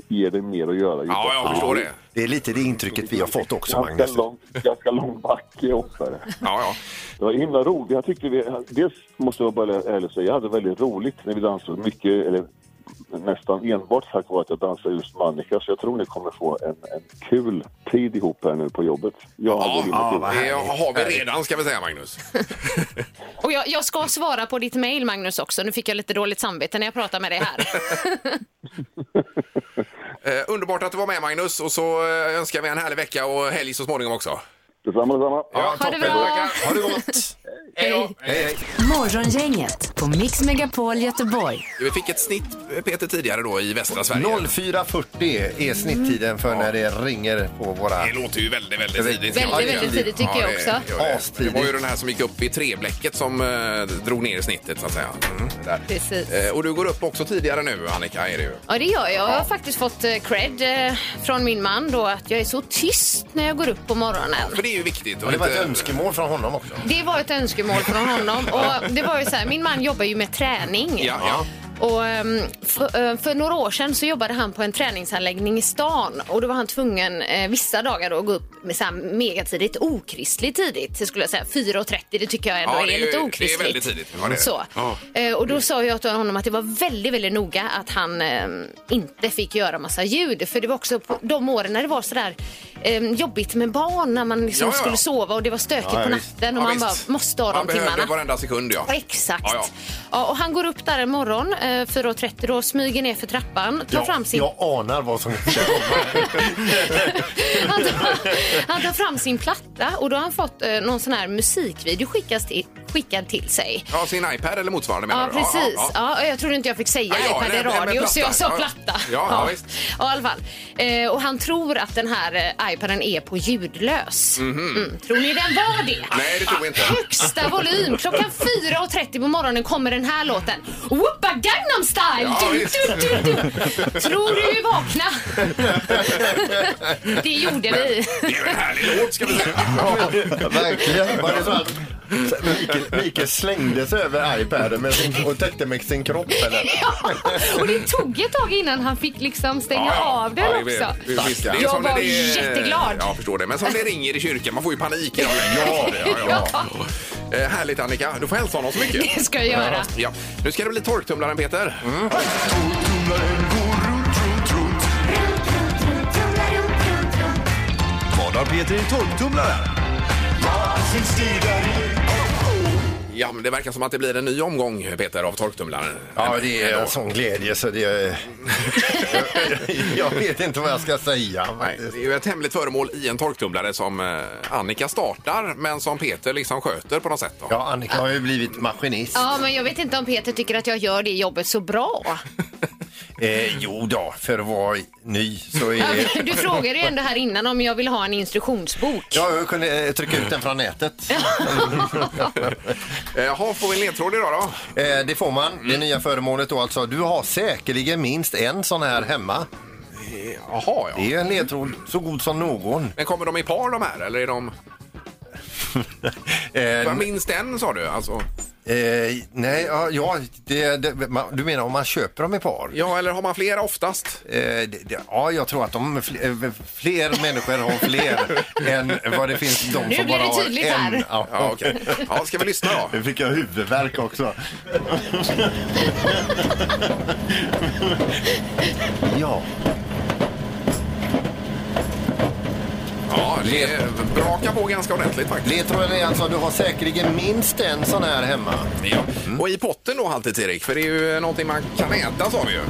[SPEAKER 11] ger dig mer att göra.
[SPEAKER 1] Ja, jag förstår det.
[SPEAKER 4] Det är lite det intrycket vi har fått också,
[SPEAKER 11] Ganska
[SPEAKER 4] Magnus.
[SPEAKER 11] lång, ganska lång backe ofta. det.
[SPEAKER 1] Ja, ja.
[SPEAKER 11] Det var himla roligt. Jag tyckte vi, dels måste jag bara ärligt säga, jag hade väldigt roligt när vi dansade mycket, eller nästan enbart tack vare att jag dansade just med Annika. Så jag tror ni kommer få en, en kul tid ihop här nu på jobbet. Jag hade
[SPEAKER 1] Ja,
[SPEAKER 11] roligt.
[SPEAKER 4] ja, vad
[SPEAKER 1] Det
[SPEAKER 4] härligt.
[SPEAKER 1] har vi redan, ska vi säga, Magnus.
[SPEAKER 2] Och jag, jag ska svara på ditt mejl, Magnus, också. Nu fick jag lite dåligt samvete när jag pratade med dig här.
[SPEAKER 1] Eh, underbart att du var med, Magnus. Och så eh, önskar vi en härlig vecka och helg så småningom också.
[SPEAKER 11] Detsamma, detsamma.
[SPEAKER 1] Ja,
[SPEAKER 2] det
[SPEAKER 1] toppen.
[SPEAKER 2] bra.
[SPEAKER 4] Ha det gott!
[SPEAKER 2] Hej.
[SPEAKER 4] Hej, hej.
[SPEAKER 6] Morgongänget på Mix Megapol Göteborg.
[SPEAKER 1] Vi fick ett snitt, eh, Peter, tidigare då i västra Sverige.
[SPEAKER 4] 04.40 är snitttiden för när det ringer på våra...
[SPEAKER 1] Det låter ju väldigt, väldigt tidigt.
[SPEAKER 2] Väldigt,
[SPEAKER 1] Ja, det gör
[SPEAKER 2] väldigt
[SPEAKER 1] det.
[SPEAKER 2] tidigt tycker jag
[SPEAKER 1] det
[SPEAKER 2] också.
[SPEAKER 1] gör det.
[SPEAKER 4] Astidigt.
[SPEAKER 1] Det var ju den här som gick upp i treblecket som eh, drog ner snittet så att säga. Mm, det där.
[SPEAKER 2] Precis.
[SPEAKER 1] Eh, och du går upp också tidigare nu, Annika, är det ju.
[SPEAKER 2] Ja, det gör jag. Jag har faktiskt fått eh, cred eh, från min man då att jag är så tyst när jag går upp på morgonen.
[SPEAKER 1] För det är ju viktigt.
[SPEAKER 4] Och
[SPEAKER 1] och
[SPEAKER 4] det var ett
[SPEAKER 1] inte-
[SPEAKER 4] önskemål från honom också.
[SPEAKER 2] Det var ett önskemål från honom. Och det var ju så här, min man jobbar ju med träning.
[SPEAKER 1] Ja, ja.
[SPEAKER 2] Och, ehm, för, eh, för några år sedan så jobbade han på en träningsanläggning i stan och då var han tvungen eh, vissa dagar då att gå upp med så här megatidigt, okristligt tidigt. Det skulle jag säga 4.30, det tycker jag ändå
[SPEAKER 1] Ja,
[SPEAKER 2] är,
[SPEAKER 1] det är- det
[SPEAKER 2] lite
[SPEAKER 1] är
[SPEAKER 2] okristligt.
[SPEAKER 1] väldigt tidigt. Ja, det är det.
[SPEAKER 2] Så.
[SPEAKER 1] Ja.
[SPEAKER 2] Eh, Och då sa jag till honom att det var väldigt, väldigt noga att han ehm, inte fick göra massa ljud. För det var också på de åren när det var sådär um, jobbigt med barn när man liksom
[SPEAKER 1] Ja, ja, ja.
[SPEAKER 2] skulle sova och det var stökigt
[SPEAKER 4] Ja,
[SPEAKER 2] på
[SPEAKER 4] visst.
[SPEAKER 2] natten och
[SPEAKER 1] Ja,
[SPEAKER 2] man bara
[SPEAKER 1] visst.
[SPEAKER 2] måste ha
[SPEAKER 1] Man
[SPEAKER 2] de timmarna.
[SPEAKER 1] behövde varenda sekund, ja.
[SPEAKER 2] Exakt.
[SPEAKER 1] Ja, ja.
[SPEAKER 2] Ja, och han går upp där en morgon, eh, 4.30 då, smyger ner för trappan, tar
[SPEAKER 4] Jag,
[SPEAKER 2] fram sin...
[SPEAKER 4] jag anar vad som ska komma.
[SPEAKER 2] Han, tar, han tar fram sin platta och då har han fått eh, någon sån här musikvideo skickas till, skickad till sig.
[SPEAKER 1] Ja, sin iPad eller motsvarande menar du?
[SPEAKER 2] Ja, precis.
[SPEAKER 1] Ja,
[SPEAKER 2] Ja,
[SPEAKER 1] ja.
[SPEAKER 2] jag trodde inte jag fick säga
[SPEAKER 1] Ja, ja,
[SPEAKER 2] iPad
[SPEAKER 1] nej,
[SPEAKER 2] i
[SPEAKER 1] nej, men
[SPEAKER 2] radio, så
[SPEAKER 1] platta.
[SPEAKER 2] jag sa
[SPEAKER 1] Ja, ja.
[SPEAKER 2] platta.
[SPEAKER 1] Ja, ja, visst.
[SPEAKER 2] Ja, i alla fall. Eh, och han tror att den här eh, iPaden är på ljudlös.
[SPEAKER 1] Mhm.
[SPEAKER 2] Mm. Tror ni den var det?
[SPEAKER 1] Nej, det tror jag inte.
[SPEAKER 2] Högsta volym. Klockan 4.30 på morgonen kommer den här låten. Whoopa Gangnam style!
[SPEAKER 1] Ja,
[SPEAKER 2] du,
[SPEAKER 1] visst.
[SPEAKER 2] du, du, du. Tror du vi vakna? det gjorde vi.
[SPEAKER 1] Det är ju en härlig låt, ska vi säga.
[SPEAKER 4] Verkligen. Var det så att Mikael, Mikael slängde sig över iPaden med sin, och täckte med sin kropp? Eller?
[SPEAKER 2] Ja, och det tog ett tag innan han fick liksom stänga av den
[SPEAKER 1] Ja,
[SPEAKER 2] också.
[SPEAKER 1] vi- vi- visst, det är
[SPEAKER 2] Jag
[SPEAKER 1] som när
[SPEAKER 2] var
[SPEAKER 1] det är-
[SPEAKER 2] jätteglad.
[SPEAKER 1] Ja, jag förstår det. Men som det ringer i kyrkan, man får ju panik. Ja, Eh, härligt Annika, du får hälsa honom så mycket.
[SPEAKER 2] Det ska jag göra.
[SPEAKER 1] Ja. Nu ska det bli torktumlaren Peter.
[SPEAKER 4] Mm.
[SPEAKER 10] Vad har Peter i torktumlaren?
[SPEAKER 1] Ja, men det verkar som att det blir en ny omgång Peter av torktumlaren.
[SPEAKER 4] Ja, det är en sån glädje så det... Är... jag vet inte vad jag ska säga.
[SPEAKER 1] Nej, det är ju ett hemligt föremål i en torktumlare som eh, Annika startar men som Peter liksom sköter på något sätt. Då.
[SPEAKER 4] Ja, Annika har ju blivit maskinist.
[SPEAKER 2] Ja, men jag vet inte om Peter tycker att jag gör det jobbet så bra.
[SPEAKER 4] Eh, jo då, för att vara ny så
[SPEAKER 2] Ja,
[SPEAKER 4] är det...
[SPEAKER 2] men Du frågade ju ändå här innan om jag vill ha en instruktionsbok.
[SPEAKER 4] Ja, jag kunde eh, trycka ut den från nätet.
[SPEAKER 1] Eh, Jaha, får vi en ledtråd idag då?
[SPEAKER 4] Eh, det får man.
[SPEAKER 1] Mm.
[SPEAKER 4] Det nya föremålet då alltså. Du har säkerligen minst en sån här hemma.
[SPEAKER 1] Jaha,
[SPEAKER 4] Det är ju en ledtråd så god som någon.
[SPEAKER 1] Men kommer de i par de här eller är de...
[SPEAKER 4] Eh,
[SPEAKER 1] Vad minst en sa du alltså?
[SPEAKER 4] eh, nej, ja, ja det, det, man, du menar om man köper dem i par?
[SPEAKER 1] Ja, eller har man flera oftast?
[SPEAKER 4] Eh, det, det, ja, jag tror att de fl- eh, fler människor har fler än vad det finns de
[SPEAKER 2] Nu
[SPEAKER 4] som
[SPEAKER 2] blir
[SPEAKER 4] bara
[SPEAKER 2] det
[SPEAKER 4] har
[SPEAKER 2] tydligt
[SPEAKER 4] en.
[SPEAKER 2] här.
[SPEAKER 4] Ja.
[SPEAKER 1] Ja, okej. Ja, ska vi lyssna då?
[SPEAKER 4] Nu fick jag huvudvärk också. ja.
[SPEAKER 1] det är- brakar på ganska ordentligt faktiskt.
[SPEAKER 4] Ledtråden är alltså att du har säkerligen minst en sån här hemma.
[SPEAKER 1] Ja.
[SPEAKER 4] Mm.
[SPEAKER 1] Och i potten då alltid Erik, för det är ju någonting man kan äta sa vi ju.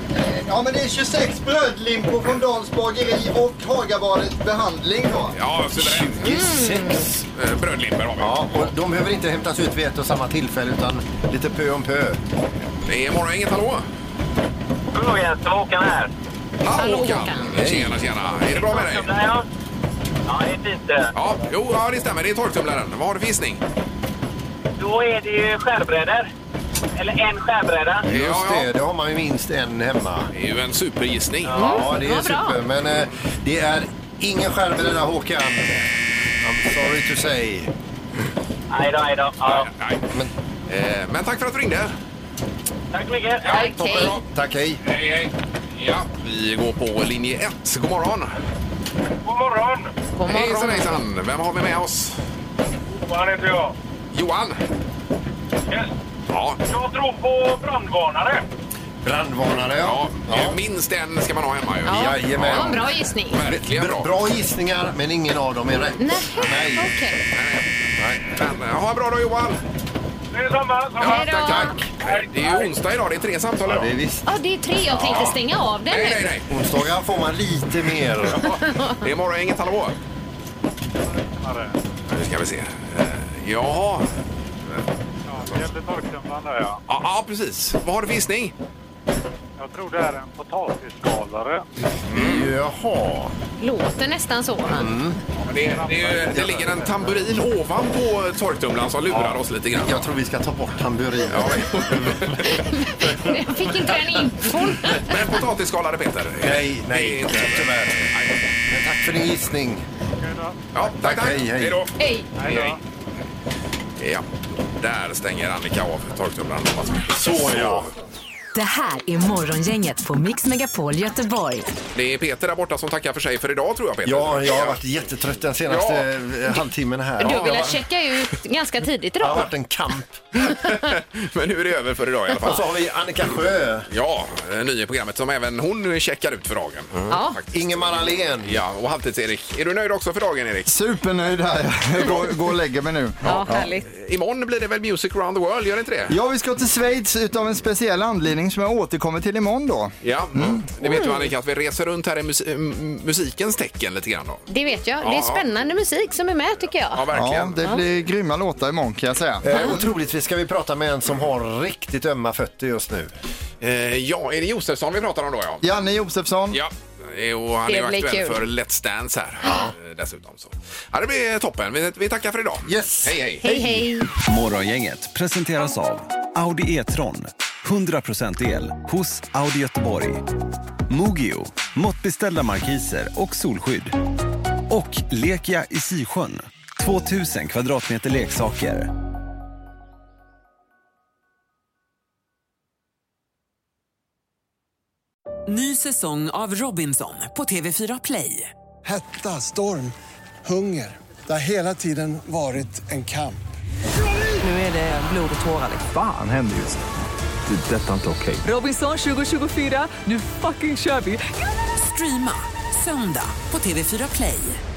[SPEAKER 5] Ja, men det är 26 brödlimpor från Dans bageri och Hagabadet behandling då.
[SPEAKER 1] Ja, suveränt. 26 mm. brödlimpor har vi.
[SPEAKER 4] Ja, och de behöver inte hämtas ut vid ett och samma tillfälle utan lite pö om pö.
[SPEAKER 1] Det är morgon, inget hallå?
[SPEAKER 3] Frågan till Håkan här.
[SPEAKER 1] Hallå
[SPEAKER 2] Hallå,
[SPEAKER 1] Håkan!
[SPEAKER 2] Håkan.
[SPEAKER 1] Tjena, tjena. Är det bra med dig?
[SPEAKER 3] Ja, det är fint det.
[SPEAKER 1] Ja, jo, ja, det stämmer. Det är torktumlaren. Vad har du för gissning?
[SPEAKER 3] Då är det ju skärbrädor. Eller en skärbräda.
[SPEAKER 1] Ja,
[SPEAKER 4] Just
[SPEAKER 1] ja.
[SPEAKER 4] det, det har man ju minst en hemma.
[SPEAKER 1] Det är ju en supergissning.
[SPEAKER 4] Ja, det är
[SPEAKER 2] Mm, vad bra.
[SPEAKER 4] super. Men eh, det är ingen skärmbräda Håkan. I'm sorry to say.
[SPEAKER 3] Aj då, aj då. Ja.
[SPEAKER 1] Nej, men, eh, men tack för att du ringde.
[SPEAKER 3] Tack så mycket.
[SPEAKER 2] Okej.
[SPEAKER 4] Tack, hej.
[SPEAKER 1] Hej, hej. Ja, vi går på linje 1. God morgon.
[SPEAKER 3] God morgon.
[SPEAKER 2] God
[SPEAKER 1] Hejsan,
[SPEAKER 2] morgon.
[SPEAKER 1] hejsan. Vem har vi med oss?
[SPEAKER 3] Johan heter jag.
[SPEAKER 1] Johan? Ja.
[SPEAKER 3] Jag tror på brandvarnare.
[SPEAKER 4] Brandvarnare,
[SPEAKER 1] ja.
[SPEAKER 4] ja.
[SPEAKER 1] eh, Minst en ska man ha hemma ju.
[SPEAKER 2] Ja, det
[SPEAKER 4] Jajamän.
[SPEAKER 2] var en bra gissning.
[SPEAKER 1] Verkligen bra.
[SPEAKER 4] Bra. Bra gissningar, men ingen av dem är rätt.
[SPEAKER 2] Nej,
[SPEAKER 4] Nej.
[SPEAKER 2] okej.
[SPEAKER 1] Nej, men, eh, ha en bra dag Johan.
[SPEAKER 3] Det är samma. samma.
[SPEAKER 2] Hej då.
[SPEAKER 1] Tack. Det är ju onsdag idag. Det är tre samtal
[SPEAKER 4] Ja,
[SPEAKER 1] idag.
[SPEAKER 4] det är visst.
[SPEAKER 2] Ja, det är tre. Jag tänkte stänga av den
[SPEAKER 1] Nej, nej,
[SPEAKER 2] nu.
[SPEAKER 1] nej.
[SPEAKER 4] Onsdagar får man lite mer.
[SPEAKER 1] Det är morgon, inget hallå. Nu ska vi se. Eh, Jaha.
[SPEAKER 3] Ja, det gällde torktumlaren där ja.
[SPEAKER 1] Ja, ja, precis. Vad har du för gissning?
[SPEAKER 3] Jag tror det är en potatisskalare.
[SPEAKER 4] Jaha.
[SPEAKER 2] Låter nästan så.
[SPEAKER 1] Mm. Det, det, det ligger en tamburin ovanpå torktumlaren som lurar oss lite grann.
[SPEAKER 4] Jag tror vi ska ta bort tamburinen.
[SPEAKER 1] Ja,
[SPEAKER 2] Jag fick inte den infon.
[SPEAKER 1] men potatisskalare Peter?
[SPEAKER 4] Nej, nej,
[SPEAKER 1] Det är inte-
[SPEAKER 4] tyvärr.
[SPEAKER 1] Nej.
[SPEAKER 4] Men tack för din gissning.
[SPEAKER 1] Ja, tack, tack.
[SPEAKER 4] Hej, hej.
[SPEAKER 1] då.
[SPEAKER 2] Hej.
[SPEAKER 1] Hej, hej. Ja, där stänger Annika av torktumlaren. hoppas vi. Så ja.
[SPEAKER 6] Det här är Morgongänget på Mix Megapol Göteborg.
[SPEAKER 1] Det är Peter där borta som tackar för sig för idag tror jag Peter.
[SPEAKER 4] Ja, jag har varit jättetrött den senaste eh, halvtimmen här.
[SPEAKER 2] Du
[SPEAKER 4] Ja,
[SPEAKER 2] har
[SPEAKER 4] jag
[SPEAKER 2] velat checka ut ganska tidigt
[SPEAKER 4] det har
[SPEAKER 2] idag.
[SPEAKER 4] varit en kamp.
[SPEAKER 1] Men nu är det över för idag i alla
[SPEAKER 4] Och
[SPEAKER 1] fall.
[SPEAKER 4] så har vi Annika Sjö,
[SPEAKER 1] Ja, eh, ny i programmet som även hon checkar ut för dagen.
[SPEAKER 4] Mm.
[SPEAKER 2] Ja.
[SPEAKER 1] Faktiskt.
[SPEAKER 4] Ingemar Ahlén.
[SPEAKER 1] Ja, och Halvtids-Erik. Är du nöjd också för dagen, Erik?
[SPEAKER 5] Supernöjd här. Jag går, går och lägger mig nu.
[SPEAKER 2] Ja, härligt.
[SPEAKER 1] Imorgon blir det väl Music around the world, gör det inte det?
[SPEAKER 5] Ja, vi ska till Schweiz utav en speciell anledning som jag återkommer till imorgon då.
[SPEAKER 1] Ja, det vet du Annika att vi reser runt här i mus- m- musikens tecken lite grann. Då.
[SPEAKER 2] Det vet jag.
[SPEAKER 1] Ja,
[SPEAKER 2] Det
[SPEAKER 1] ja.
[SPEAKER 2] är spännande musik som är med tycker
[SPEAKER 1] Ja,
[SPEAKER 2] jag.
[SPEAKER 5] Ja,
[SPEAKER 1] verkligen.
[SPEAKER 5] det blir grymma låtar imorgon kan jag säga.
[SPEAKER 4] Eh, och troligtvis ska vi prata med en som har riktigt ömma fötter just nu.
[SPEAKER 1] Eh, ja, är det Josefsson vi pratar om då? Ja.
[SPEAKER 5] Janne Josefsson.
[SPEAKER 1] Ja, eh, och han
[SPEAKER 2] Det
[SPEAKER 1] är ju
[SPEAKER 2] blir
[SPEAKER 1] aktuell
[SPEAKER 2] kul.
[SPEAKER 1] för Let's Dance här eh, dessutom. Så. Ja, det blir toppen. Vi, vi tackar för idag.
[SPEAKER 4] Yes.
[SPEAKER 1] Hej, hej.
[SPEAKER 2] Hej, hej.
[SPEAKER 10] Morgongänget presenteras av Audi E-tron. 100% el hos Audi Göteborg. Mogio, måttbeställda markiser och solskydd. Och Lekia i Sisjön, 2000 kvadratmeter leksaker.
[SPEAKER 12] Ny säsong av Robinson på TV4 Play.
[SPEAKER 10] Hetta, storm, hunger. Det har hela tiden varit en kamp.
[SPEAKER 12] Nu är det blod och tårar. liksom.
[SPEAKER 10] Fan händer just nu. det. är Detta är inte okej.
[SPEAKER 12] Robinson 2024, nu fucking kör vi! Streama söndag på TV4 Play.